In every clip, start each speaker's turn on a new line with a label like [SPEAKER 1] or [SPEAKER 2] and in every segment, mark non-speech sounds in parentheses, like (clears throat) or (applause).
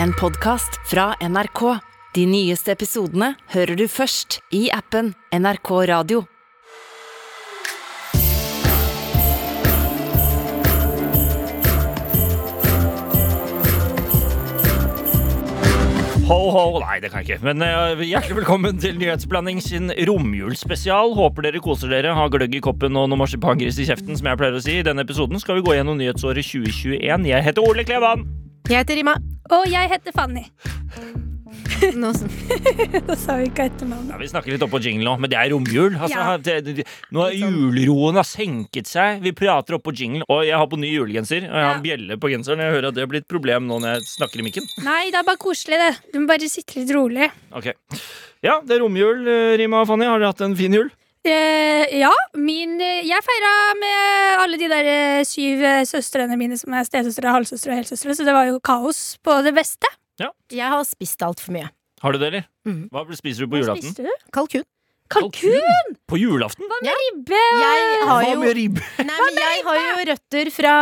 [SPEAKER 1] En podcast fra NRK. De nyeste episodene hører du først i appen NRK Radio.
[SPEAKER 2] Ho, ho, nei, det kan jeg ikke. Men eh, hjertelig velkommen til Nyhetsblanding sin romjulsspesial. Håper dere koser dere, har gløgg i koppen og noe marsipangris i kjeften, som jeg pleier å si. I denne episoden skal vi gå gjennom nyhetsåret 2021. Jeg heter Ole Klevan.
[SPEAKER 3] Jeg heter Rima.
[SPEAKER 4] Og jeg heter Fanny.
[SPEAKER 3] Nå,
[SPEAKER 4] (laughs)
[SPEAKER 3] s-
[SPEAKER 4] Da sa vi ikke etternavnet.
[SPEAKER 2] Ja, vi snakker litt opp på jingle nå, men det er romjul. Altså,
[SPEAKER 4] Ja.
[SPEAKER 2] det, det, nå har julroen har senket seg. Vi prater opp på jingle, og jeg har på ny julegenser. Og jeg har en bjelle på genseren. Jeg hører at det blir et problem nå når jeg snakker i mikken.
[SPEAKER 4] Nei, det er bare koselig, det. Du må bare sitte litt rolig.
[SPEAKER 2] Ok. Ja, det er romjul, eh, Rima og Fanny. Har dere hatt en fin jul?
[SPEAKER 4] Eh, ja, min eh, Jeg feira med alle de der eh, syv eh, søstrene mine som er stesøstre, halvsøstre og helsøstre, så det var jo kaos på det beste.
[SPEAKER 3] jeg har spist altfor mye.
[SPEAKER 2] Har du det, eller?
[SPEAKER 3] Mhm.
[SPEAKER 2] Hva spiser du på julaften?
[SPEAKER 4] Spiste du?
[SPEAKER 3] Kalkun.
[SPEAKER 4] Kalkun?
[SPEAKER 2] På julaften?
[SPEAKER 4] Ribbe?
[SPEAKER 3] Jeg har
[SPEAKER 2] Hva
[SPEAKER 3] jo,
[SPEAKER 2] med ribbe?
[SPEAKER 3] nei, men jeg har jo røtter fra,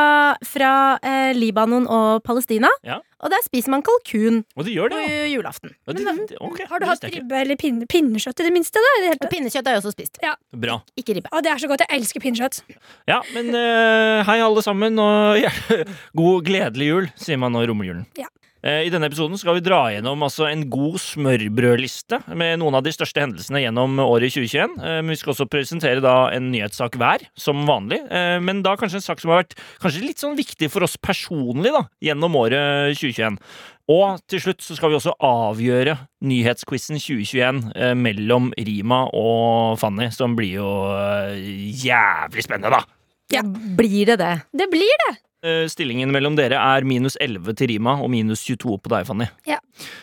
[SPEAKER 3] fra eh, Libanon og Palestina,
[SPEAKER 2] Ja.
[SPEAKER 3] og der spiser man kalkun
[SPEAKER 2] Og de gjør
[SPEAKER 3] på
[SPEAKER 2] det, ja.
[SPEAKER 3] julaften.
[SPEAKER 2] ja de, de, ok,
[SPEAKER 4] Har
[SPEAKER 2] det
[SPEAKER 4] du hatt
[SPEAKER 2] visste jeg ikke.
[SPEAKER 4] ribbe eller pinne, pinnekjøtt i det minste? da? I det hele
[SPEAKER 3] Og
[SPEAKER 4] tatt?
[SPEAKER 3] pinnekjøtt har jeg også spist.
[SPEAKER 2] Bra.
[SPEAKER 3] Ikke ribbe.
[SPEAKER 4] Å, det er så godt. Jeg elsker pinnekjøtt.
[SPEAKER 2] Ja, men eh, hei alle sammen, og (laughs) hjer- god gledelig jul, sier man nå i romjulen.
[SPEAKER 4] Ja.
[SPEAKER 2] Eh, I denne episoden skal vi dra gjennom altså, en god smørbrødliste med noen av de største hendelsene gjennom året 2021. Eh, men vi skal også presentere da en nyhetssak hver, som vanlig. Eh, men da kanskje en sak som har vært kanskje litt sånn viktig for oss personlig da, gjennom året 2021. Og til slutt så skal vi også avgjøre nyhetsquizen 2021 eh, mellom Rima og Fanny, som blir jo eh, jævlig spennende, da.
[SPEAKER 4] Ja.
[SPEAKER 3] Blir det det?
[SPEAKER 4] Det blir det.
[SPEAKER 2] Eh, stillingen mellom dere er minus 11 til Rima og minus 22 på deg, Fanny.
[SPEAKER 4] Ja.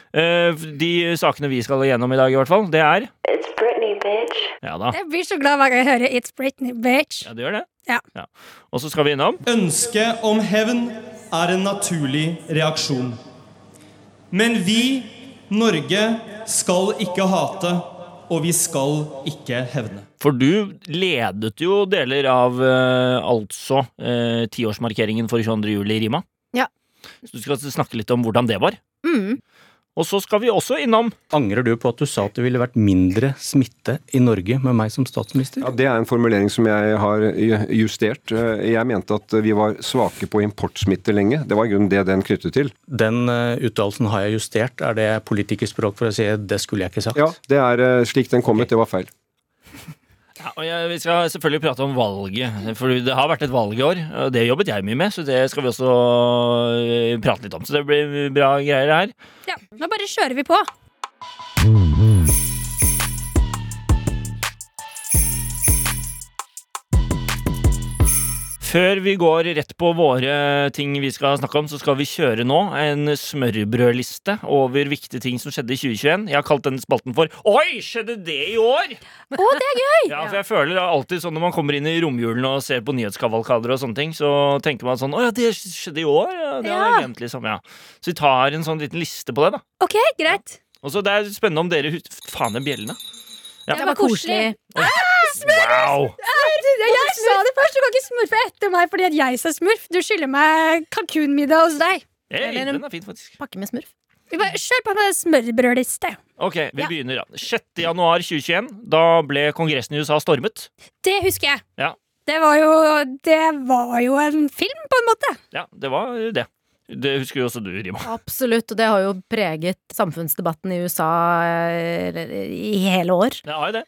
[SPEAKER 2] Eh, de sakene vi skal gjennom i dag, i hvert fall, det er
[SPEAKER 5] It's Britney, bitch.
[SPEAKER 2] Ja da.
[SPEAKER 4] Jeg blir så glad hver gang jeg hører It's Britney, bitch.
[SPEAKER 2] Ja, det gjør det.
[SPEAKER 4] Ja.
[SPEAKER 2] Og så skal vi innom
[SPEAKER 6] Ønsket om hevn er en naturlig reaksjon. Men vi, Norge, skal ikke hate, og vi skal ikke hevne.
[SPEAKER 2] For du ledet jo deler av eh, altså eh, tiårsmarkeringen for 22. juli, Rima.
[SPEAKER 3] Ja.
[SPEAKER 2] Så du skal snakke litt om hvordan det var.
[SPEAKER 3] Mm.
[SPEAKER 2] Og så skal vi også innom
[SPEAKER 7] Angrer du på at du sa at det ville vært mindre smitte i Norge med meg som statsminister?
[SPEAKER 8] Ja, Det er en formulering som jeg har ju- justert. Eh, Jeg mente at vi var svake på importsmitte lenge. Det var i grunnen det den knyttet til.
[SPEAKER 7] Den eh, uttalelsen har jeg justert. Er det politikerspråk for å si det skulle jeg ikke sagt?
[SPEAKER 8] Ja, Det er eh, slik den kom ut. Det var feil.
[SPEAKER 2] ja, og jeg, Vi skal selvfølgelig prate om valget, for det har vært et valg i år. og Det jobbet jeg mye med, så det skal vi også eh, prate litt om. Så det blir bra greier her.
[SPEAKER 4] Ja, Nå bare kjører vi på.
[SPEAKER 2] Før vi går rett på våre ting vi skal snakke om, så skal vi kjøre nå en smørbrødliste over viktige ting som skjedde i 2021. Jeg har kalt denne spalten for Oi, skjedde det i år?
[SPEAKER 4] Å, det er gøy!
[SPEAKER 2] Ja, for jeg føler alltid sånn når man kommer inn i romjulen og ser på nyhetskavalkader og sånne ting, så tenker man sånn Å ja, det skjedde i år? Ja, det var
[SPEAKER 4] Ja.
[SPEAKER 2] egentlig liksom, ja. Så vi tar en sånn liten liste på det, da.
[SPEAKER 4] Ok, greit.
[SPEAKER 2] Og så det er spennende om dere hus... Faen, det er bjellene.
[SPEAKER 4] Det var koselig.
[SPEAKER 2] Wow!
[SPEAKER 4] Jeg, sa det først, du kan ikke smurfe etter meg fordi at jeg sa smurf. Du skylder meg kalkunmiddag hos deg.
[SPEAKER 2] Hey,
[SPEAKER 3] Eller en-
[SPEAKER 2] den er fin, faktisk.
[SPEAKER 3] Pakke med smurf.
[SPEAKER 4] Vi bare Kjør på med smørbrødliste.
[SPEAKER 2] Ok, vi
[SPEAKER 3] Ja.
[SPEAKER 2] begynner da. 6. januar 2021, da ble kongressen i USA stormet.
[SPEAKER 4] Det husker jeg.
[SPEAKER 2] Ja.
[SPEAKER 4] Det var jo Det var jo en film, på en måte.
[SPEAKER 2] Ja, det var det. Det husker jo også du, Rima.
[SPEAKER 3] Absolutt, og det har jo preget samfunnsdebatten i USA eh, i hele år.
[SPEAKER 2] Det har jo det.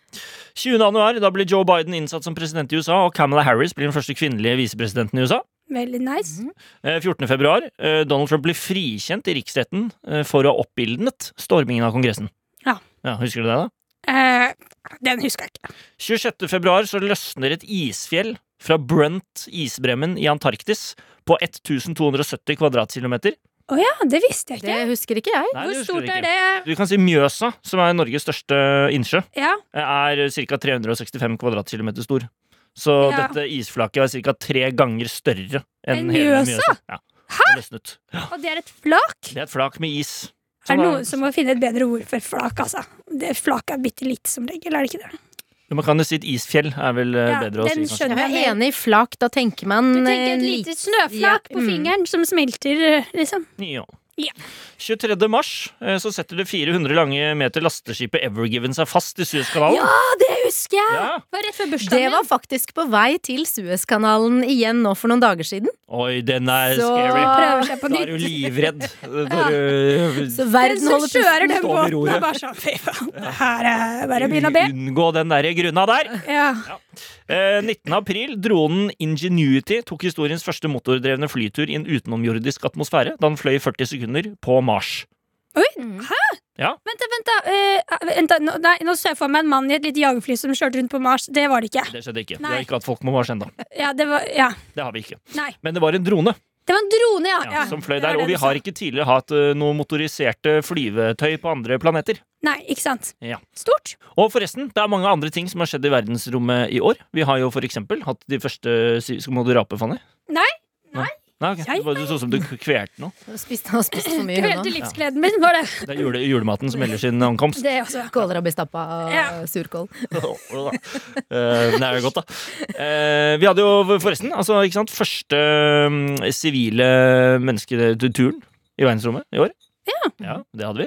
[SPEAKER 2] 20. januar, da ble Joe Biden innsatt som president i USA, og Kamala Harris blir den første kvinnelige visepresidenten i USA.
[SPEAKER 4] Veldig nice.
[SPEAKER 2] Eh, 14. februar, eh, Donald Trump ble frikjent i riksretten eh, for å ha oppildnet stormingen av kongressen.
[SPEAKER 4] Ja.
[SPEAKER 2] Husker du det, da?
[SPEAKER 4] Eh, den husker jeg ikke.
[SPEAKER 2] 26. februar så løsner et isfjell fra Brunt isbremmen i Antarktis på 1270 kvadratkilometer.
[SPEAKER 4] Å ja, det visste jeg
[SPEAKER 3] Det
[SPEAKER 4] ikke.
[SPEAKER 3] husker ikke jeg.
[SPEAKER 2] Nei, det
[SPEAKER 4] Hvor
[SPEAKER 2] husker du
[SPEAKER 4] stort
[SPEAKER 2] ikke.
[SPEAKER 4] er det?
[SPEAKER 2] Du kan si Mjøsa, som er Norges største innsjø,
[SPEAKER 4] Ja,
[SPEAKER 2] er ca. 365 kvadratkilometer stor. Så
[SPEAKER 4] Ja.
[SPEAKER 2] dette isflaket er ca. tre ganger større enn
[SPEAKER 4] Enn
[SPEAKER 2] hele
[SPEAKER 4] Mjøsa?
[SPEAKER 2] Mjøsa. Ja. Hæ? Løsnet.
[SPEAKER 4] Og det er et flak?
[SPEAKER 2] Det er et flak med is.
[SPEAKER 4] Er det
[SPEAKER 2] Sånn
[SPEAKER 4] noen som må finne et bedre ord for flak, altså? Det Flak er bitte lite som regel, er det ikke det?
[SPEAKER 2] Jo, Man kan jo si et isfjell er vel eh,
[SPEAKER 4] Ja,
[SPEAKER 2] bedre å si.
[SPEAKER 4] den
[SPEAKER 2] kanskje.
[SPEAKER 4] skjønner
[SPEAKER 3] Jeg
[SPEAKER 4] jeg.
[SPEAKER 3] er enig i flak, da tenker man
[SPEAKER 4] Du tenker
[SPEAKER 3] eh,
[SPEAKER 4] et
[SPEAKER 3] en
[SPEAKER 4] lite
[SPEAKER 3] liten-
[SPEAKER 4] snøflak
[SPEAKER 3] Ja,
[SPEAKER 4] på
[SPEAKER 3] mm.
[SPEAKER 4] fingeren som smelter, liksom.
[SPEAKER 2] Ja.
[SPEAKER 4] Ja.
[SPEAKER 2] 23. mars eh, så setter det 400 lange meter lasteskipet Evergiven seg fast i Suezkanalen.
[SPEAKER 4] Ja, det husker jeg!
[SPEAKER 2] Ja.
[SPEAKER 4] Det var rett før bursdagen
[SPEAKER 3] Det
[SPEAKER 4] min.
[SPEAKER 3] var faktisk på vei til Suezkanalen igjen nå for noen dager siden.
[SPEAKER 2] Oi, den er
[SPEAKER 3] Så-
[SPEAKER 2] scary.
[SPEAKER 4] Prøver seg på
[SPEAKER 2] Da er
[SPEAKER 4] nytt.
[SPEAKER 2] du
[SPEAKER 4] (laughs)
[SPEAKER 2] livredd. Når du
[SPEAKER 3] Så
[SPEAKER 4] Den
[SPEAKER 3] verden
[SPEAKER 4] som
[SPEAKER 3] holder
[SPEAKER 4] kjører
[SPEAKER 3] pusten.
[SPEAKER 2] Stå
[SPEAKER 4] den
[SPEAKER 2] ved
[SPEAKER 4] båten,
[SPEAKER 2] roret.
[SPEAKER 4] er bare sånn Fy faen, det her er bare å begynne å be.
[SPEAKER 2] Unngå den der grunna der.
[SPEAKER 4] Ja.
[SPEAKER 2] Eh, 19. april, dronen Ingenuity tok historiens første motordrevne flytur i en utenomjordisk atmosfære da den fløy 40 sekunder på Mars.
[SPEAKER 4] Oi,
[SPEAKER 3] Mm.
[SPEAKER 4] hæ?
[SPEAKER 2] Ja.
[SPEAKER 4] Vent, da, vent, da. eh, vent da. Nå, nei, nå ser jeg for meg en mann i et lite jagerfly som kjørte rundt på Mars. Det var det ikke.
[SPEAKER 2] Det skjedde ikke. Vi
[SPEAKER 4] Nei.
[SPEAKER 2] har ikke hatt folk på Mars ennå.
[SPEAKER 4] Ja, det var Ja.
[SPEAKER 2] Det har vi ikke.
[SPEAKER 4] Nei.
[SPEAKER 2] Men det var en drone
[SPEAKER 4] Det var en drone, ja.
[SPEAKER 2] ja,
[SPEAKER 4] ja.
[SPEAKER 2] som fløy
[SPEAKER 4] Det var
[SPEAKER 2] der,
[SPEAKER 4] det
[SPEAKER 2] og vi
[SPEAKER 4] du sa.
[SPEAKER 2] har ikke tidligere hatt eh, noe motoriserte flyvetøy på andre planeter.
[SPEAKER 4] Nei, ikke sant.
[SPEAKER 2] Ja.
[SPEAKER 4] Stort.
[SPEAKER 2] Og forresten, det er mange andre ting som har skjedd i verdensrommet i år. Vi har jo for eksempel hatt de første si- Skal må du rape, Fanny?
[SPEAKER 4] Nei,
[SPEAKER 2] Nei, nei ok.
[SPEAKER 4] Jeg-
[SPEAKER 2] Det var- Du så ut som du kvelte noe.
[SPEAKER 3] Hun spiste, hun spiste for mye, hun
[SPEAKER 4] Kvelte
[SPEAKER 3] òg.
[SPEAKER 4] livsgleden min, var det.
[SPEAKER 2] Det er jule, julematen som melder sin
[SPEAKER 4] (laughs)
[SPEAKER 2] ankomst.
[SPEAKER 4] Det også.
[SPEAKER 3] Kålrabbistappa og
[SPEAKER 4] Ja.
[SPEAKER 3] surkål.
[SPEAKER 2] Åh, eh, det er jo godt, da. Eh, vi hadde jo forresten altså, ikke sant, første mm, sivile mennesketuren i verdensrommet i år. Ja. Det hadde vi.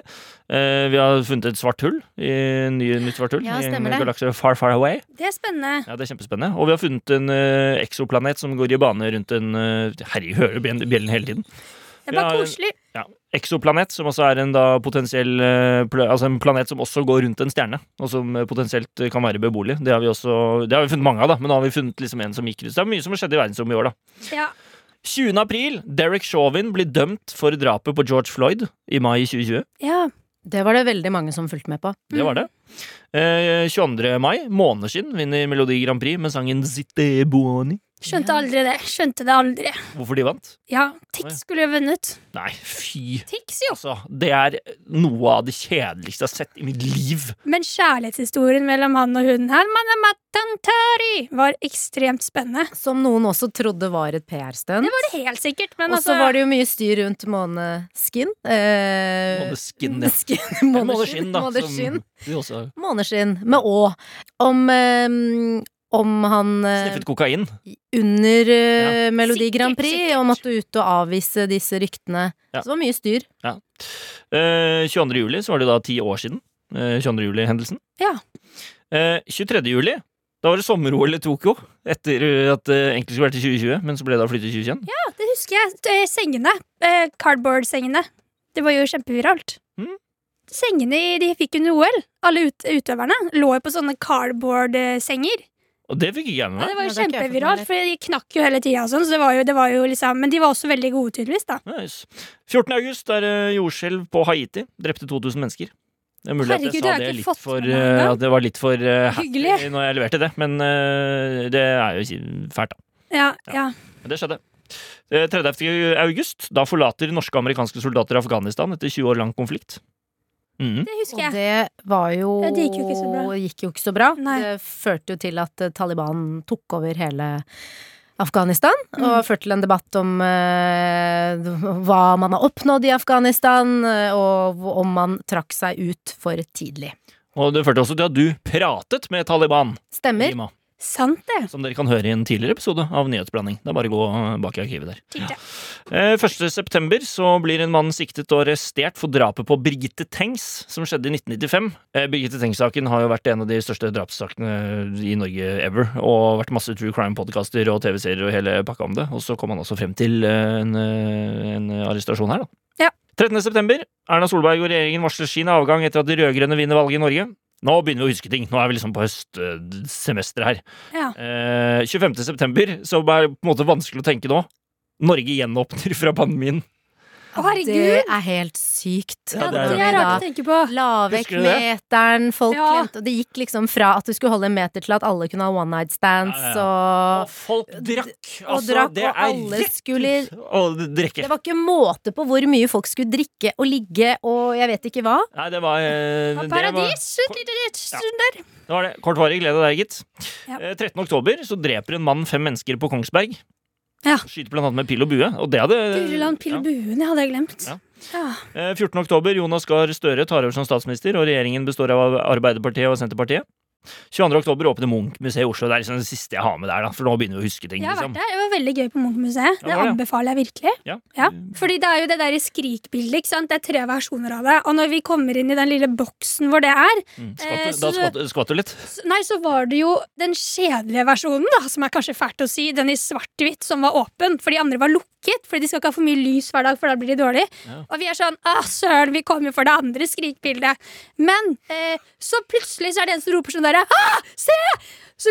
[SPEAKER 2] Eh, vi har funnet et svart hull. I, ny, nytt svart hull
[SPEAKER 3] Ja,
[SPEAKER 2] i en
[SPEAKER 3] stemmer det.
[SPEAKER 2] galakse far, far away.
[SPEAKER 4] Det er spennende.
[SPEAKER 2] Ja, Det er kjempespennende. Og vi har funnet en eh, eksoplanet som går i bane rundt en uh, Herregud, hører du bjell- bjellen hele tiden?
[SPEAKER 4] Det
[SPEAKER 2] Vi
[SPEAKER 4] er bare
[SPEAKER 2] har en-
[SPEAKER 4] koselig.
[SPEAKER 2] Ja. Eksoplanet, som altså er en da potensiell eh, pla- Altså en planet som også går rundt en stjerne, og som eh, potensielt eh, kan være beboelig. Det har vi også Det har vi funnet mange av, da, men nå har vi funnet liksom en som gikk rundt. Så det er mye som har skjedd i verdensrommet i år, da.
[SPEAKER 4] Ja.
[SPEAKER 2] 20. april, Derek Chauvin blir dømt for drapet på George Floyd i mai 2020.
[SPEAKER 4] ja.
[SPEAKER 3] Det var det veldig mange som fulgte med på.
[SPEAKER 2] Det var det. Eh, 22. mai, Måneskinn vinner Melodi Grand Prix med sangen Zitte Buoni.
[SPEAKER 4] Skjønte aldri det. Skjønte det aldri.
[SPEAKER 2] Hvorfor de vant?
[SPEAKER 4] Ja, Tix skulle jo vunnet.
[SPEAKER 2] Nei, fy
[SPEAKER 4] Tix, jo.
[SPEAKER 2] Altså, det er noe av det kjedeligste jeg har sett i mitt liv.
[SPEAKER 4] Men kjærlighetshistorien mellom han og hun her man er matantari, var ekstremt spennende.
[SPEAKER 3] Som noen også trodde var et PR-stunt.
[SPEAKER 4] Det er helt sikkert, men
[SPEAKER 3] Og så
[SPEAKER 4] altså
[SPEAKER 3] var det jo mye styr rundt måneskin. Eh, (laughs)
[SPEAKER 2] Måneskin, ja.
[SPEAKER 3] skin-
[SPEAKER 2] Måneskinn, da.
[SPEAKER 3] Måneskinn.
[SPEAKER 2] Som de også
[SPEAKER 3] Måneskinn med Å. Om, eh, om han eh,
[SPEAKER 2] sniffet kokain.
[SPEAKER 3] under eh, Melodi
[SPEAKER 4] Sikkert,
[SPEAKER 3] Grand Prix
[SPEAKER 4] sikkert.
[SPEAKER 3] om at du er ute og avvise disse ryktene.
[SPEAKER 2] Ja.
[SPEAKER 3] Så det var mye styr.
[SPEAKER 2] Eh, 22. juli så var det da ti år siden. Eh, 22. juli-hendelsen.
[SPEAKER 4] Ja.
[SPEAKER 2] Eh, 23. juli, da var det sommer-OL i Tokyo. Etter eh, at det egentlig skulle vært i 2020, men så ble det da flyttet til 2021.
[SPEAKER 4] Ja, det husker jeg. Eh, Sengene. Eh, Cardboard-sengene. Det var jo kjempeviralt.
[SPEAKER 2] Mm.
[SPEAKER 4] Sengene i- de fikk under OL, alle ut utøverne, lå jo på sånne cardboard-senger.
[SPEAKER 2] Og det fikk ikke jeg med
[SPEAKER 4] Det
[SPEAKER 2] meg.
[SPEAKER 4] var jo
[SPEAKER 3] Ja, det har ikke jeg fått med
[SPEAKER 4] kjempeviralt, for de knakk jo hele tida og sånn, så det var, jo, det var jo liksom Men de var også veldig gode, tydeligvis, da.
[SPEAKER 2] Nice. 14. august er eh, jordskjelv på Haiti. Drepte 2000 mennesker. Det er mulig
[SPEAKER 4] Herregud,
[SPEAKER 2] at jeg sa
[SPEAKER 4] det har jeg
[SPEAKER 2] det,
[SPEAKER 4] ikke
[SPEAKER 2] litt
[SPEAKER 4] fått
[SPEAKER 2] for,
[SPEAKER 4] med meg
[SPEAKER 2] eh,
[SPEAKER 4] engang.
[SPEAKER 2] at det var litt for eh, happy
[SPEAKER 4] Hyggelig.
[SPEAKER 2] når jeg leverte det, men eh, det er jo si- fælt, da.
[SPEAKER 4] Ja, ja.
[SPEAKER 2] Men det skjedde. Eh, 30. august, da forlater norske og amerikanske soldater Afghanistan etter 20 år lang konflikt. Mhm.
[SPEAKER 4] Det husker jeg.
[SPEAKER 3] Og det var jo
[SPEAKER 4] Ja, det gikk jo ikke så bra.
[SPEAKER 3] gikk jo ikke så bra.
[SPEAKER 4] Nei.
[SPEAKER 3] Det førte jo til at eh, Taliban tok over hele Afghanistan, og
[SPEAKER 4] Mm.
[SPEAKER 3] førte til en debatt om eh, hva man har oppnådd i Afghanistan, eh, og om man trakk seg ut for tidlig.
[SPEAKER 2] Og det førte også til at du pratet med Taliban,
[SPEAKER 3] Stemmer.
[SPEAKER 2] Rima,
[SPEAKER 4] Sant, det.
[SPEAKER 2] som dere kan høre i en tidligere episode av Nyhetsblanding. Det er bare å gå eh, bak i arkivet der.
[SPEAKER 4] Tenkte jeg.
[SPEAKER 2] Eh, 1. september så blir en mann siktet og arrestert for drapet på Birgitte Tengs, som skjedde i 1995. Eh, Birgitte Tengs-saken har jo vært en av de største drapssakene i Norge ever, og vært masse true crime-podkaster og TV-serier og hele pakka om det. Og så kom han også frem til eh, en, eh, en arrestasjon her, da.
[SPEAKER 4] Ja.
[SPEAKER 2] 13. september. Erna Solberg og regjeringen varsler sin avgang etter at de rød-grønne vinner valget i Norge. Nå begynner vi å huske ting. Nå er vi liksom på høstsemesteret her.
[SPEAKER 4] Ja.
[SPEAKER 2] Eh, 25. september, som er på en måte vanskelig å tenke nå. Norge gjenåpner fra pandemien.
[SPEAKER 4] Å, herregud!
[SPEAKER 3] Det er helt sykt.
[SPEAKER 2] Ja,
[SPEAKER 4] Ja,
[SPEAKER 2] det
[SPEAKER 4] det
[SPEAKER 2] er
[SPEAKER 4] er rart å tenke på.
[SPEAKER 3] La vekk
[SPEAKER 2] Husker du det?
[SPEAKER 3] meteren, folk
[SPEAKER 4] Ja.
[SPEAKER 3] klemte Og det gikk liksom fra at du skulle holde en meter til at alle kunne ha one night stands
[SPEAKER 2] Ja, ja,
[SPEAKER 3] og
[SPEAKER 2] Og folk drakk!
[SPEAKER 3] og
[SPEAKER 2] Altså,
[SPEAKER 3] drakk,
[SPEAKER 2] det
[SPEAKER 3] og
[SPEAKER 2] er
[SPEAKER 3] alle
[SPEAKER 2] rett ut
[SPEAKER 3] skulle-
[SPEAKER 2] Å drikke.
[SPEAKER 3] Det var ikke måte på hvor mye folk skulle drikke og ligge og jeg vet ikke hva.
[SPEAKER 2] Nei, det var, eh, det, var,
[SPEAKER 4] Paradis! et lite- lite stund der.
[SPEAKER 2] det var det. Kortvarig glede der, gitt.
[SPEAKER 4] Ja.
[SPEAKER 2] Eh, 13. oktober så dreper en mann fem mennesker på Kongsberg.
[SPEAKER 4] Ja.
[SPEAKER 2] Skyter blant annet med pil og bue. Og det hadde
[SPEAKER 4] Dureland Pill
[SPEAKER 2] ja.
[SPEAKER 4] Buen, jeg hadde jeg glemt.
[SPEAKER 2] Ja.
[SPEAKER 4] Ja.
[SPEAKER 2] Eh, 14. oktober, Jonas Gahr Støre tar over som statsminister, og regjeringen består av Arbeiderpartiet og Senterpartiet. 22. oktober åpner Munch-museet i Oslo. Det er liksom det siste jeg har med der, da, for nå begynner vi å huske ting.
[SPEAKER 4] Jeg har
[SPEAKER 2] liksom.
[SPEAKER 4] vært der. Det var veldig gøy på Munch-museet.
[SPEAKER 2] Ja, det
[SPEAKER 4] Det
[SPEAKER 2] var det.
[SPEAKER 4] anbefaler jeg virkelig.
[SPEAKER 2] Ja.
[SPEAKER 4] Ja, fordi det er jo det der Skrik-bildet. ikke sant? Det er tre versjoner av det. Og når vi kommer inn i den lille boksen hvor det er,
[SPEAKER 2] Mm, skvatt,
[SPEAKER 4] Eh,
[SPEAKER 2] du- da
[SPEAKER 4] så-
[SPEAKER 2] skvatt, skvatt du litt.
[SPEAKER 4] s- nei, så var det jo den kjedelige versjonen, da, som er kanskje fælt å si, den i svart-hvitt som var åpen, for de andre var lukket, fordi de skal ikke ha for mye lys hver dag, for da blir de dårlige. Og vi er sånn ah, søren, vi kommer for det andre Skrik-bildet. Men eh, så plutselig så er det en som roper sånn derre ah, se! Så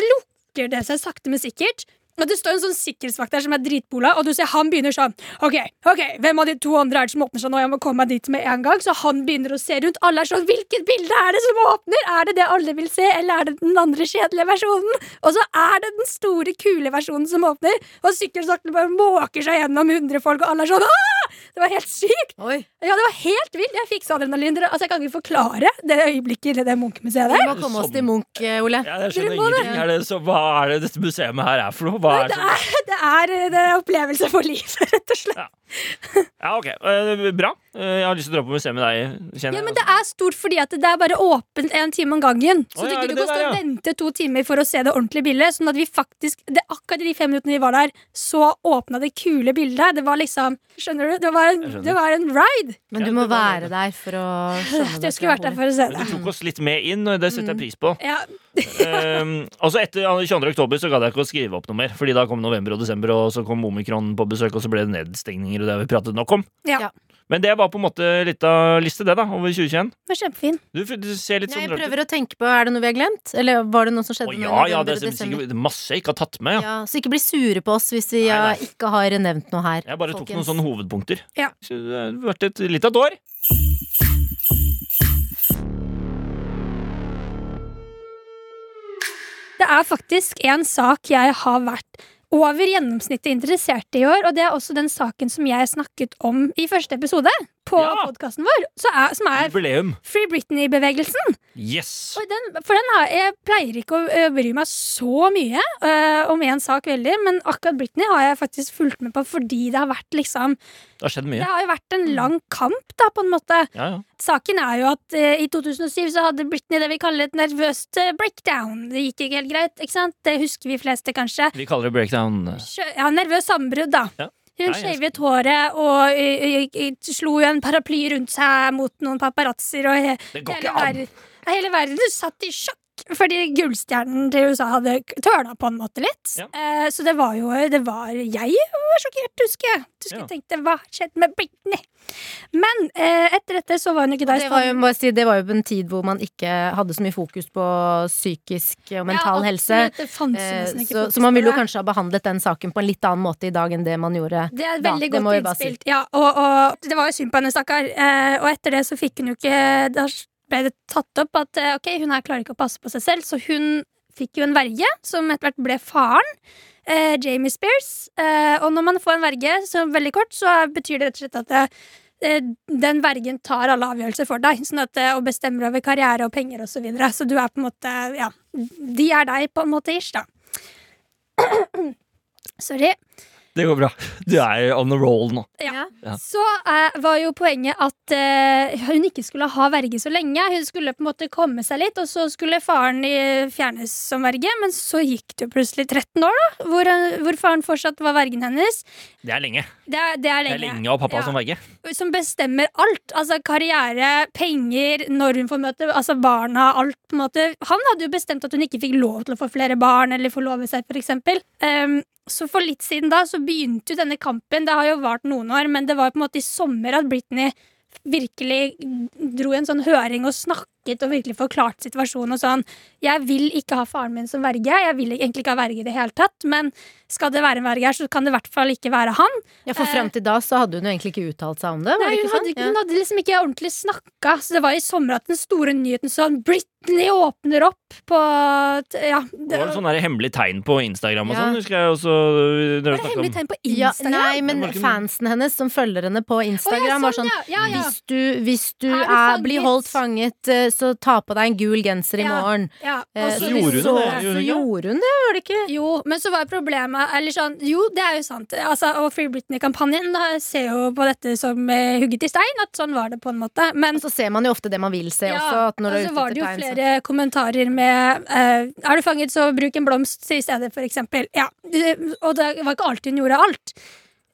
[SPEAKER 4] lukker det seg sakte, men sikkert. Og det står en sånn sikkerhetsvakt der som er dritbola, og du ser han begynner sånn Ok, ok, hvem av de to andre er det som åpner seg nå? Jeg må komme meg dit med en gang. Så han begynner å se rundt. Alle er sånn Hvilket bilde er det som åpner? Er det det alle vil se, eller er det den andre kjedelige versjonen? Og så er det den store, kule versjonen som åpner, og sikkerhetsvakten bare måker seg gjennom 100 folk, og alle er sånn Aah! Det var helt sykt!
[SPEAKER 3] Oi.
[SPEAKER 4] Ja, det var helt vilt! Jeg fikk så adrenalin. Dere- Altså, jeg kan ikke forklare det øyeblikket i det Munch-museet
[SPEAKER 3] Vi
[SPEAKER 4] der.
[SPEAKER 3] må komme oss til Munch, eh, Ole.
[SPEAKER 2] Ja, jeg skjønner
[SPEAKER 4] Dere må det.
[SPEAKER 2] ingenting. Er det, så, hva er det dette museet her er for noe? Hva er det
[SPEAKER 4] Det
[SPEAKER 2] som-
[SPEAKER 4] er, det er eh, det er opplevelse for livet, rett og slett.
[SPEAKER 2] Ja, ok. Eh, Bra. Eh, Jeg har lyst til å dra på museet med deg. Kjenner
[SPEAKER 4] Ja,
[SPEAKER 2] jeg.
[SPEAKER 4] men det er stort fordi at det er bare åpent en time om gangen. Så
[SPEAKER 2] Å, ja, er
[SPEAKER 4] du ikke
[SPEAKER 2] det
[SPEAKER 4] du kan
[SPEAKER 2] det
[SPEAKER 4] stå
[SPEAKER 2] der,
[SPEAKER 4] og
[SPEAKER 2] ja?
[SPEAKER 4] vente to timer for å se det ordentlige bildet. Sånn at vi faktisk, det er akkurat i de fem minuttene vi var der, så åpna det kule bildet. Det var liksom Skjønner du? Det var en,
[SPEAKER 2] skjønner.
[SPEAKER 4] det var en ride.
[SPEAKER 3] Men du må være der for å (sighs) skjønne
[SPEAKER 4] Jeg skulle vært der for å se det.
[SPEAKER 2] Altså, Du tok oss litt med inn, og det setter jeg pris på.
[SPEAKER 4] Ja,
[SPEAKER 2] Um, og så etter 22. oktober så gadd jeg ikke å skrive opp noe mer, Fordi da kom november og desember, og så kom omikron på besøk, og så ble det nedstengninger og det har vi pratet nok om.
[SPEAKER 4] Ja.
[SPEAKER 3] Ja.
[SPEAKER 2] Men det var på en måte litt av liste, det, da, over 2021.
[SPEAKER 4] det var kjempefin.
[SPEAKER 2] Du, f- du ser litt
[SPEAKER 3] Nei,
[SPEAKER 2] sånn
[SPEAKER 3] jeg
[SPEAKER 2] rart ut.
[SPEAKER 3] prøver å tenke på, er det noe vi har glemt? Eller var det noe som
[SPEAKER 2] Å
[SPEAKER 3] skjedde med
[SPEAKER 2] ja, ja,
[SPEAKER 3] november
[SPEAKER 2] det
[SPEAKER 3] og
[SPEAKER 2] er
[SPEAKER 3] desember?
[SPEAKER 2] sikkert masse jeg ikke har tatt med. Ja.
[SPEAKER 3] Ja, så ikke bli sure på oss hvis vi
[SPEAKER 2] Nei,
[SPEAKER 3] ja,
[SPEAKER 2] nei.
[SPEAKER 3] ikke har nevnt noe her.
[SPEAKER 2] Jeg bare tok noen
[SPEAKER 3] folkens.
[SPEAKER 2] sånne hovedpunkter.
[SPEAKER 4] Ja.
[SPEAKER 2] Så det har vært et, litt av et år.
[SPEAKER 4] Det er faktisk en sak jeg har vært over gjennomsnittet interessert i i år, og det er også den saken som jeg snakket om i første episode på
[SPEAKER 2] Ja.
[SPEAKER 4] podkasten vår, så er, som er
[SPEAKER 2] Jubileum.
[SPEAKER 4] Free Britney-bevegelsen.
[SPEAKER 2] Yes.
[SPEAKER 4] Og den, for den har, jeg pleier ikke å ø, bry meg så mye ø, om én sak veldig, men akkurat Britney har jeg faktisk fulgt med på fordi det har vært liksom
[SPEAKER 2] Det har skjedd
[SPEAKER 4] Det
[SPEAKER 2] mye.
[SPEAKER 4] har jo vært en lang kamp, da, på en måte.
[SPEAKER 2] Ja, ja.
[SPEAKER 4] Saken er jo at ø, i 2007 så hadde Britney det vi kaller et nervøst ø, breakdown. Det gikk ikke helt greit, ikke sant? Det husker vi fleste, kanskje.
[SPEAKER 2] Vi kaller det breakdown.
[SPEAKER 4] Skjø- Ja, nervøs sambrudd, da.
[SPEAKER 2] Ja.
[SPEAKER 4] Hun
[SPEAKER 2] Nei, jeg
[SPEAKER 4] skjevet håret og ø, ø, ø, slo jo en paraply rundt seg mot noen paparazzoer. Og he-
[SPEAKER 2] Det går
[SPEAKER 4] hele
[SPEAKER 2] ikke an.
[SPEAKER 4] verden- ja, hele verden satt i sjokk fordi gullstjernen til USA hadde k- tørna på en måte litt.
[SPEAKER 2] Ja.
[SPEAKER 4] Eh, så det var jo det var, Jeg var sjokkert, husker jeg. Du
[SPEAKER 2] Ja.
[SPEAKER 4] skulle tenkte, Hva skjedde med Britney? Men eh, etter dette så var sånn- hun ikke der.
[SPEAKER 3] Det var, jo, bare si, det var jo en tid hvor man ikke hadde så mye fokus på psykisk og mental
[SPEAKER 4] Ja,
[SPEAKER 3] helse.
[SPEAKER 4] absolutt, det fantes
[SPEAKER 3] Eh,
[SPEAKER 4] nesten ikke
[SPEAKER 3] Så,
[SPEAKER 4] fokus
[SPEAKER 3] så
[SPEAKER 4] på
[SPEAKER 3] man ville jo
[SPEAKER 4] det.
[SPEAKER 3] kanskje ha behandlet den saken på en litt annen måte i dag enn det man gjorde
[SPEAKER 4] Det er et
[SPEAKER 3] da.
[SPEAKER 4] veldig
[SPEAKER 3] Det må
[SPEAKER 4] godt
[SPEAKER 3] jeg bare si.
[SPEAKER 4] innspilt. Ja, og, og det var jo synd på henne, stakkar. Eh, og etter det så fikk hun jo ikke Da ble det tatt opp at eh, ok, hun her klarer ikke å passe på seg selv, så hun fikk jo en verge som etter hvert ble faren. Eh, Jamie Spears. Eh, og når man får en verge, så veldig kort, så betyr det rett og slett at eh, den vergen tar alle avgjørelser for deg sånn at, eh, og bestemmer over karriere og penger osv. Så, videre. så du er på en måte Ja, de er deg, på en måte, ish, da. (clears throat) Sorry.
[SPEAKER 2] Det går bra. Du er on the roll nå.
[SPEAKER 4] Ja.
[SPEAKER 2] Ja.
[SPEAKER 4] Så eh, var jo poenget at eh, hun ikke skulle ha verge så lenge. Hun skulle på en måte komme seg litt, og så skulle faren eh, fjernes som verge. Men så gikk det jo plutselig 13 år, da, hvor, eh, hvor faren fortsatt var vergen hennes.
[SPEAKER 2] Det er lenge.
[SPEAKER 4] Det er, det er
[SPEAKER 2] Det er
[SPEAKER 4] lenge.
[SPEAKER 2] lenge å ha pappa
[SPEAKER 4] Ja.
[SPEAKER 2] som verge.
[SPEAKER 4] Som bestemmer alt. Altså karriere, penger, når hun får møte altså barna, alt på en måte. Han hadde jo bestemt at hun ikke fikk lov til å få flere barn eller forlove seg, for eksempel. Ehm, så for litt siden da så begynte jo denne kampen. Det har jo vart noen år, men det var jo på en måte i sommer at Britney virkelig dro i en sånn høring og snakket og virkelig forklarte situasjonen og sånn. Jeg vil ikke ha faren min som verge. Jeg vil egentlig ikke ha verge i det hele tatt, men skal det være en verge her, så kan det i hvert fall ikke være han.
[SPEAKER 3] Ja, For fram til da så hadde hun jo egentlig ikke uttalt seg om det.
[SPEAKER 4] Eh,
[SPEAKER 3] Var
[SPEAKER 4] Nei,
[SPEAKER 3] det
[SPEAKER 4] hun,
[SPEAKER 3] ikke
[SPEAKER 4] hadde,
[SPEAKER 3] sånn?
[SPEAKER 4] ikke- hun hadde liksom ikke ordentlig snakka, så det var i sommer at den store nyheten sånn Britney åpner opp på t- Ja.
[SPEAKER 2] Det var sånn hemmelig tegn på Instagram og
[SPEAKER 3] Ja.
[SPEAKER 2] sånn, husker jeg også. Når vi
[SPEAKER 4] var det
[SPEAKER 2] snakket
[SPEAKER 4] hemmelig
[SPEAKER 2] om
[SPEAKER 4] tegn på
[SPEAKER 3] Ja,
[SPEAKER 4] Instagram?
[SPEAKER 3] nei, men
[SPEAKER 2] Det var ikke-
[SPEAKER 3] fansen hennes som følger henne på
[SPEAKER 4] Å, ja,
[SPEAKER 3] Instagram, var sånn
[SPEAKER 4] ja, ja, ja.
[SPEAKER 3] Hvis du, hvis du
[SPEAKER 4] Er
[SPEAKER 3] er
[SPEAKER 4] du fanget?
[SPEAKER 3] blir holdt fanget eh, lyst til å ta på deg en gul genser i
[SPEAKER 4] Ja.
[SPEAKER 3] morgen.
[SPEAKER 4] Ja, og
[SPEAKER 3] Eh,
[SPEAKER 4] så
[SPEAKER 3] vi
[SPEAKER 2] Gjorde hun det?
[SPEAKER 3] så-
[SPEAKER 2] Gjorde hun
[SPEAKER 3] Så
[SPEAKER 2] ikke?
[SPEAKER 3] gjorde hun det, gjorde hun ikke?
[SPEAKER 4] Jo, men så var problemet eller sånn, Jo, det er jo sant. Altså, og Free Britney-kampanjen da, ser jo på dette som eh, hugget i stein. At sånn var det på en måte. Men
[SPEAKER 3] Så ser man jo ofte det man vil se også.
[SPEAKER 4] ja,
[SPEAKER 3] At når du
[SPEAKER 4] og
[SPEAKER 3] er
[SPEAKER 4] så
[SPEAKER 3] ute
[SPEAKER 4] var
[SPEAKER 3] etter
[SPEAKER 4] det jo
[SPEAKER 3] tegn, så-
[SPEAKER 4] flere kommentarer med eh, 'Er du fanget, så bruk en blomst i stedet', for eksempel. Ja. eh, Og det var ikke alltid hun gjorde alt.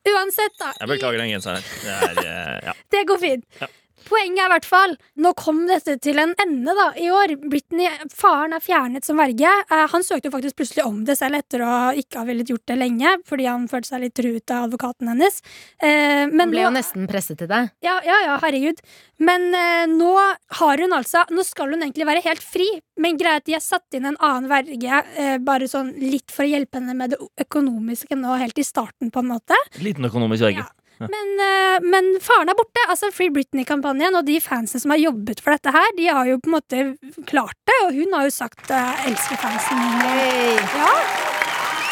[SPEAKER 4] Uansett, da.
[SPEAKER 2] Jeg beklager den genseren her. Det er, eh, ja.
[SPEAKER 4] Det går fint.
[SPEAKER 2] Ja.
[SPEAKER 4] Poenget er i hvert fall Nå kom dette til en ende da i år. Britney, Faren er fjernet som verge. Eh, han søkte jo faktisk plutselig om det selv etter å ikke ha villet gjort det lenge, fordi han følte seg litt truet av advokaten hennes. Eh, men
[SPEAKER 3] Hun ble jo
[SPEAKER 4] nå-
[SPEAKER 3] nesten presset til det.
[SPEAKER 4] ja, ja, ja, herregud. Men eh, nå har hun altså Nå skal hun egentlig være helt fri, men greit, de har satt inn en annen verge eh, bare sånn litt for å hjelpe henne med det o- økonomiske nå helt i starten, på en måte.
[SPEAKER 2] Liten økonomisk verge.
[SPEAKER 4] Men, eh, men faren er borte. Altså Free Britney-kampanjen og de fansene som har jobbet for dette her, de har jo på en måte klart det, og hun har jo sagt eh, 'elsker fansen min'. Ja.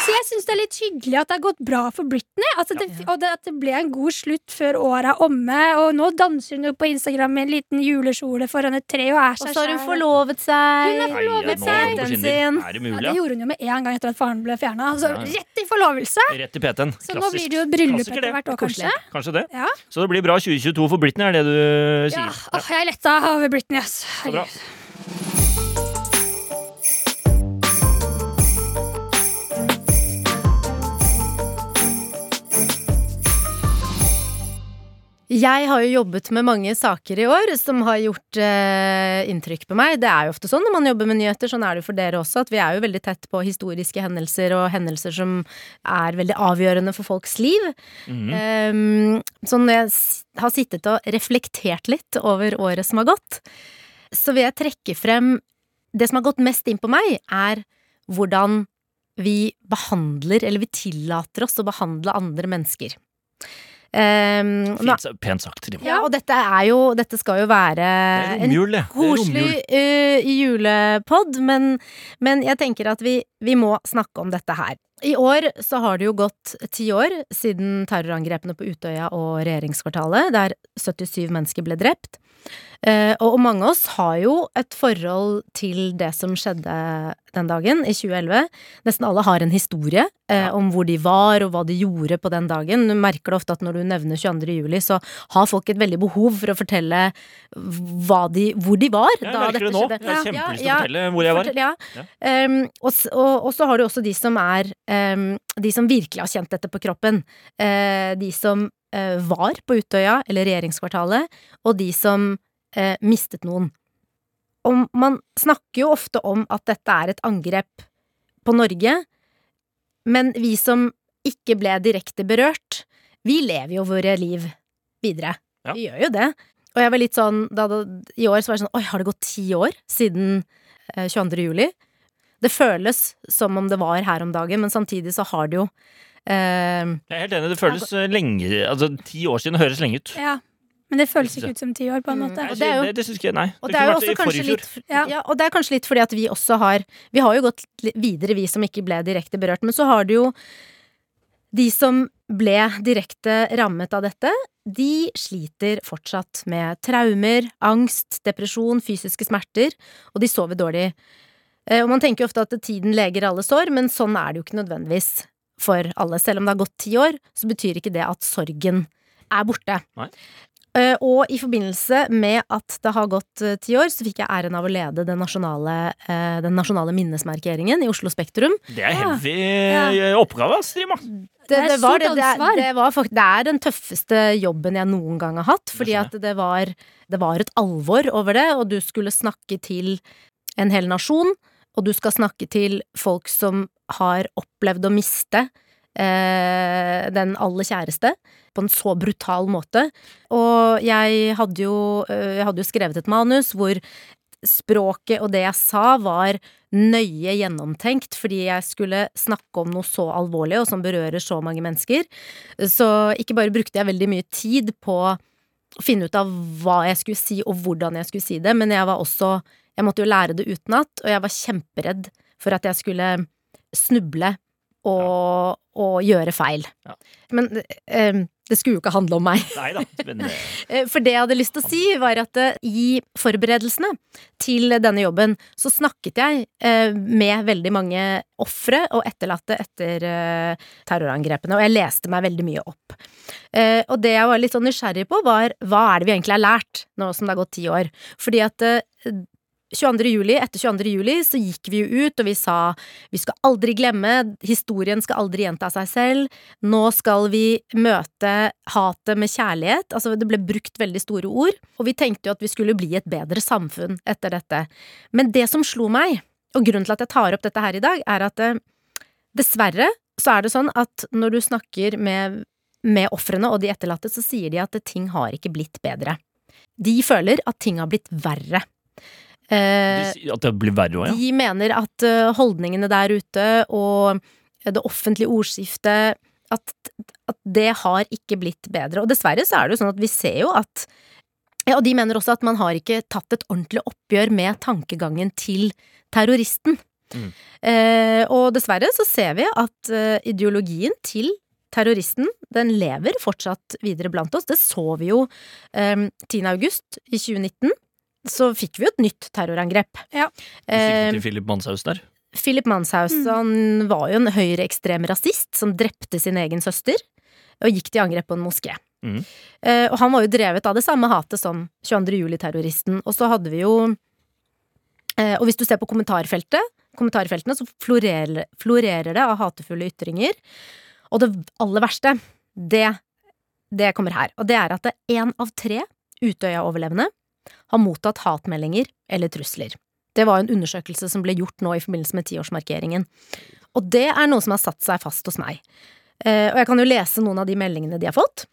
[SPEAKER 4] Så jeg syns det er litt hyggelig at det har gått bra for Britney. Altså det, Og det, at det ble en god slutt før året er omme. Og nå danser hun jo på Instagram med en liten julekjole foran et tre og er
[SPEAKER 3] Og
[SPEAKER 4] seg
[SPEAKER 3] så har hun
[SPEAKER 4] selv.
[SPEAKER 3] forlovet seg.
[SPEAKER 4] Hun er forlovet
[SPEAKER 2] nå
[SPEAKER 4] seg.
[SPEAKER 2] er det på
[SPEAKER 3] den
[SPEAKER 2] Tinder.
[SPEAKER 3] sin.
[SPEAKER 2] Er det
[SPEAKER 4] Ja,
[SPEAKER 2] mulig?
[SPEAKER 4] det
[SPEAKER 2] Ja?
[SPEAKER 4] gjorde hun jo med en gang etter at faren ble fjerna. Altså,
[SPEAKER 2] Ja, ja.
[SPEAKER 4] rett i forlovelse!
[SPEAKER 2] Rett i PT-en.
[SPEAKER 4] Så nå blir det jo et bryllup
[SPEAKER 2] Klassiker,
[SPEAKER 4] etter
[SPEAKER 2] det.
[SPEAKER 4] hvert år, kanskje.
[SPEAKER 2] Kanskje det.
[SPEAKER 4] Ja.
[SPEAKER 2] Så det blir bra 2022 for Britney, er det du
[SPEAKER 4] Ja,
[SPEAKER 2] sier.
[SPEAKER 4] åh, jeg er letta over Britney, ass.
[SPEAKER 2] Så bra.
[SPEAKER 3] Jeg har jo jobbet med mange saker i år som har gjort eh, inntrykk på meg. Det er jo ofte sånn når man jobber med nyheter, sånn er det jo for dere også, at vi er jo veldig tett på historiske hendelser og hendelser som er veldig avgjørende for folks liv.
[SPEAKER 2] Mhm. Mm.
[SPEAKER 3] Eh, så når jeg s- har sittet og reflektert litt over året som har gått, så vil jeg trekke frem Det som har gått mest inn på meg, er hvordan vi behandler, eller vi tillater oss å behandle andre mennesker. Eh, nå
[SPEAKER 2] Fint, sa- pent sagt, Trine.
[SPEAKER 3] ja, og dette er jo Dette skal jo være
[SPEAKER 4] Eh,
[SPEAKER 2] Det er
[SPEAKER 3] en
[SPEAKER 2] romjul, det. Det er romjul.
[SPEAKER 3] koselig uh, julepod, men, men jeg tenker at vi, vi må snakke om dette her. I år så har det jo gått ti år siden terrorangrepene på Utøya og regjeringskvartalet, der 77 mennesker ble drept. Eh, og mange av oss har jo et forhold til det som skjedde den dagen, i 2011. Nesten alle har en historie eh, om hvor de var og hva de gjorde på den dagen. Du merker det ofte at når du nevner 22. juli, så har folk et veldig behov for å fortelle hva de, hvor de var
[SPEAKER 2] Jeg
[SPEAKER 3] da
[SPEAKER 2] merker det
[SPEAKER 3] dette
[SPEAKER 2] nå.
[SPEAKER 3] skjedde.
[SPEAKER 2] Jeg har kjempelyst til
[SPEAKER 3] Ja,
[SPEAKER 2] å
[SPEAKER 3] ja.
[SPEAKER 2] fortelle hvor jeg var.
[SPEAKER 3] Fortell, ja. Ehm, og, s- og, og så har du også de som er ehm, De som virkelig har kjent dette på kroppen. Eh, de som eh, var på Utøya, eller regjeringskvartalet, og de som eh, mistet noen. Og man snakker jo ofte om at dette er et angrep på Norge, men vi som ikke ble direkte berørt, vi lever jo våre liv videre.
[SPEAKER 2] Ja.
[SPEAKER 3] Vi gjør jo det. Og jeg var litt sånn, da, da, I år så var jeg sånn Oi, har det gått ti år siden eh, 22. juli? Det føles som om det var her om dagen, men samtidig så har det jo eh,
[SPEAKER 2] Jeg er helt enig, det føles eh, lenge Altså, ti år siden høres lenge ut.
[SPEAKER 4] Ja. Men det føles ikke ut som ti år, på en måte.
[SPEAKER 2] Nei,
[SPEAKER 3] det Mm. er jo-
[SPEAKER 2] det, det syns ikke jeg, nei.
[SPEAKER 3] Og det
[SPEAKER 2] kunne
[SPEAKER 3] er jo
[SPEAKER 2] vært i
[SPEAKER 3] også kanskje
[SPEAKER 2] forfjor.
[SPEAKER 3] litt ja.
[SPEAKER 4] Ja.
[SPEAKER 3] og det er kanskje litt fordi at vi også har Vi har jo gått li- videre, vi som ikke ble direkte berørt, men så har du jo De som ble direkte rammet av dette, de sliter fortsatt med traumer, angst, depresjon, fysiske smerter, og de sover dårlig. Eh, Og man tenker jo ofte at tiden leger alle sår, men sånn er det jo ikke nødvendigvis for alle. Selv om det har gått ti år, så betyr ikke det at sorgen er borte.
[SPEAKER 2] Nei.
[SPEAKER 3] Eh, Og i forbindelse med at det har gått eh, ti år, så fikk jeg æren av å lede den nasjonale, eh, den nasjonale minnesmarkeringen i Oslo Spektrum.
[SPEAKER 2] Det er heavy
[SPEAKER 4] Ja.
[SPEAKER 2] eh, oppgave, ass, Trima.
[SPEAKER 3] Det,
[SPEAKER 4] Det er
[SPEAKER 3] det,
[SPEAKER 4] et
[SPEAKER 3] var,
[SPEAKER 4] stort
[SPEAKER 3] det, det, er-
[SPEAKER 4] ansvar.
[SPEAKER 3] det, var fakt, det er den tøffeste jobben jeg noen gang har hatt, fordi
[SPEAKER 2] skjønner
[SPEAKER 3] at det var, det var et alvor over det, og du skulle snakke til en hel nasjon, og du skal snakke til folk som har opplevd å miste eh, den aller kjæreste på en så brutal måte. Og jeg hadde jo, eh, jeg hadde jo skrevet et manus hvor språket og det jeg sa var nøye gjennomtenkt, fordi jeg skulle snakke om noe så alvorlig og som berører så mange mennesker. Så ikke bare brukte jeg veldig mye tid på å finne ut av hva jeg skulle si og hvordan jeg skulle si det, men jeg var også Jeg måtte jo lære det utenat, og jeg var kjemperedd for at jeg skulle snuble og, og gjøre feil.
[SPEAKER 2] Ja.
[SPEAKER 3] Men eh, Det skulle jo ikke handle om meg.
[SPEAKER 2] Nei da. Men eh,
[SPEAKER 3] Eh, For det jeg hadde lyst til å si, var at eh, i forberedelsene til denne jobben, så snakket jeg eh, med veldig mange ofre og etterlatte etter eh, terrorangrepene, og jeg leste meg veldig mye opp. Eh, Og det jeg var litt sånn nysgjerrig på, var hva er det vi egentlig har lært, nå som det har gått ti år? Fordi at eh, 22. Juli, etter 22. juli så gikk vi jo ut og vi sa vi skal aldri glemme, historien skal aldri gjenta seg selv, nå skal vi møte hatet med kjærlighet. Altså, det ble brukt veldig store ord, og vi tenkte jo at vi skulle bli et bedre samfunn etter dette. Men det som slo meg, og grunnen til at jeg tar opp dette her i dag, er at eh, dessverre så er det sånn at når du snakker med, med ofrene og de etterlatte, så sier de at ting har ikke blitt bedre. De føler at ting har blitt verre.
[SPEAKER 2] de
[SPEAKER 3] Eh,
[SPEAKER 2] sier at det blir verre òg, ja.
[SPEAKER 3] de mener at ø, holdningene der ute og det offentlige ordskiftet at, at det har ikke blitt bedre. Og dessverre så er det jo sånn at vi ser jo at ja, Og de mener også at man har ikke tatt et ordentlig oppgjør med tankegangen til terroristen.
[SPEAKER 2] Mm.
[SPEAKER 3] Eh, og dessverre så ser vi at eh, ideologien til terroristen, den lever fortsatt videre blant oss. Det så vi jo eh, 10. august i 2019. Så fikk vi jo et nytt terrorangrep.
[SPEAKER 4] Ja.
[SPEAKER 2] Du
[SPEAKER 3] Eh,
[SPEAKER 2] sikter til Philip Manshaus der.
[SPEAKER 3] Philip Manshaus
[SPEAKER 4] Mm.
[SPEAKER 3] han var jo en høyreekstrem rasist som drepte sin egen søster og gikk til angrep på en moské.
[SPEAKER 2] Mm.
[SPEAKER 3] Eh, og han var jo drevet av det samme hatet som 22. juli-terroristen. Og så hadde vi jo eh, Og hvis du ser på kommentarfeltet, kommentarfeltene, så florerer, florerer det av hatefulle ytringer. Og det aller verste, det, det kommer her. Og det er at én av tre Utøya-overlevende har mottatt hatmeldinger eller trusler. Det var en undersøkelse som ble gjort nå i forbindelse med tiårsmarkeringen. Og det er noe som har satt seg fast hos meg. Eh, og jeg kan jo lese noen av de meldingene de har fått.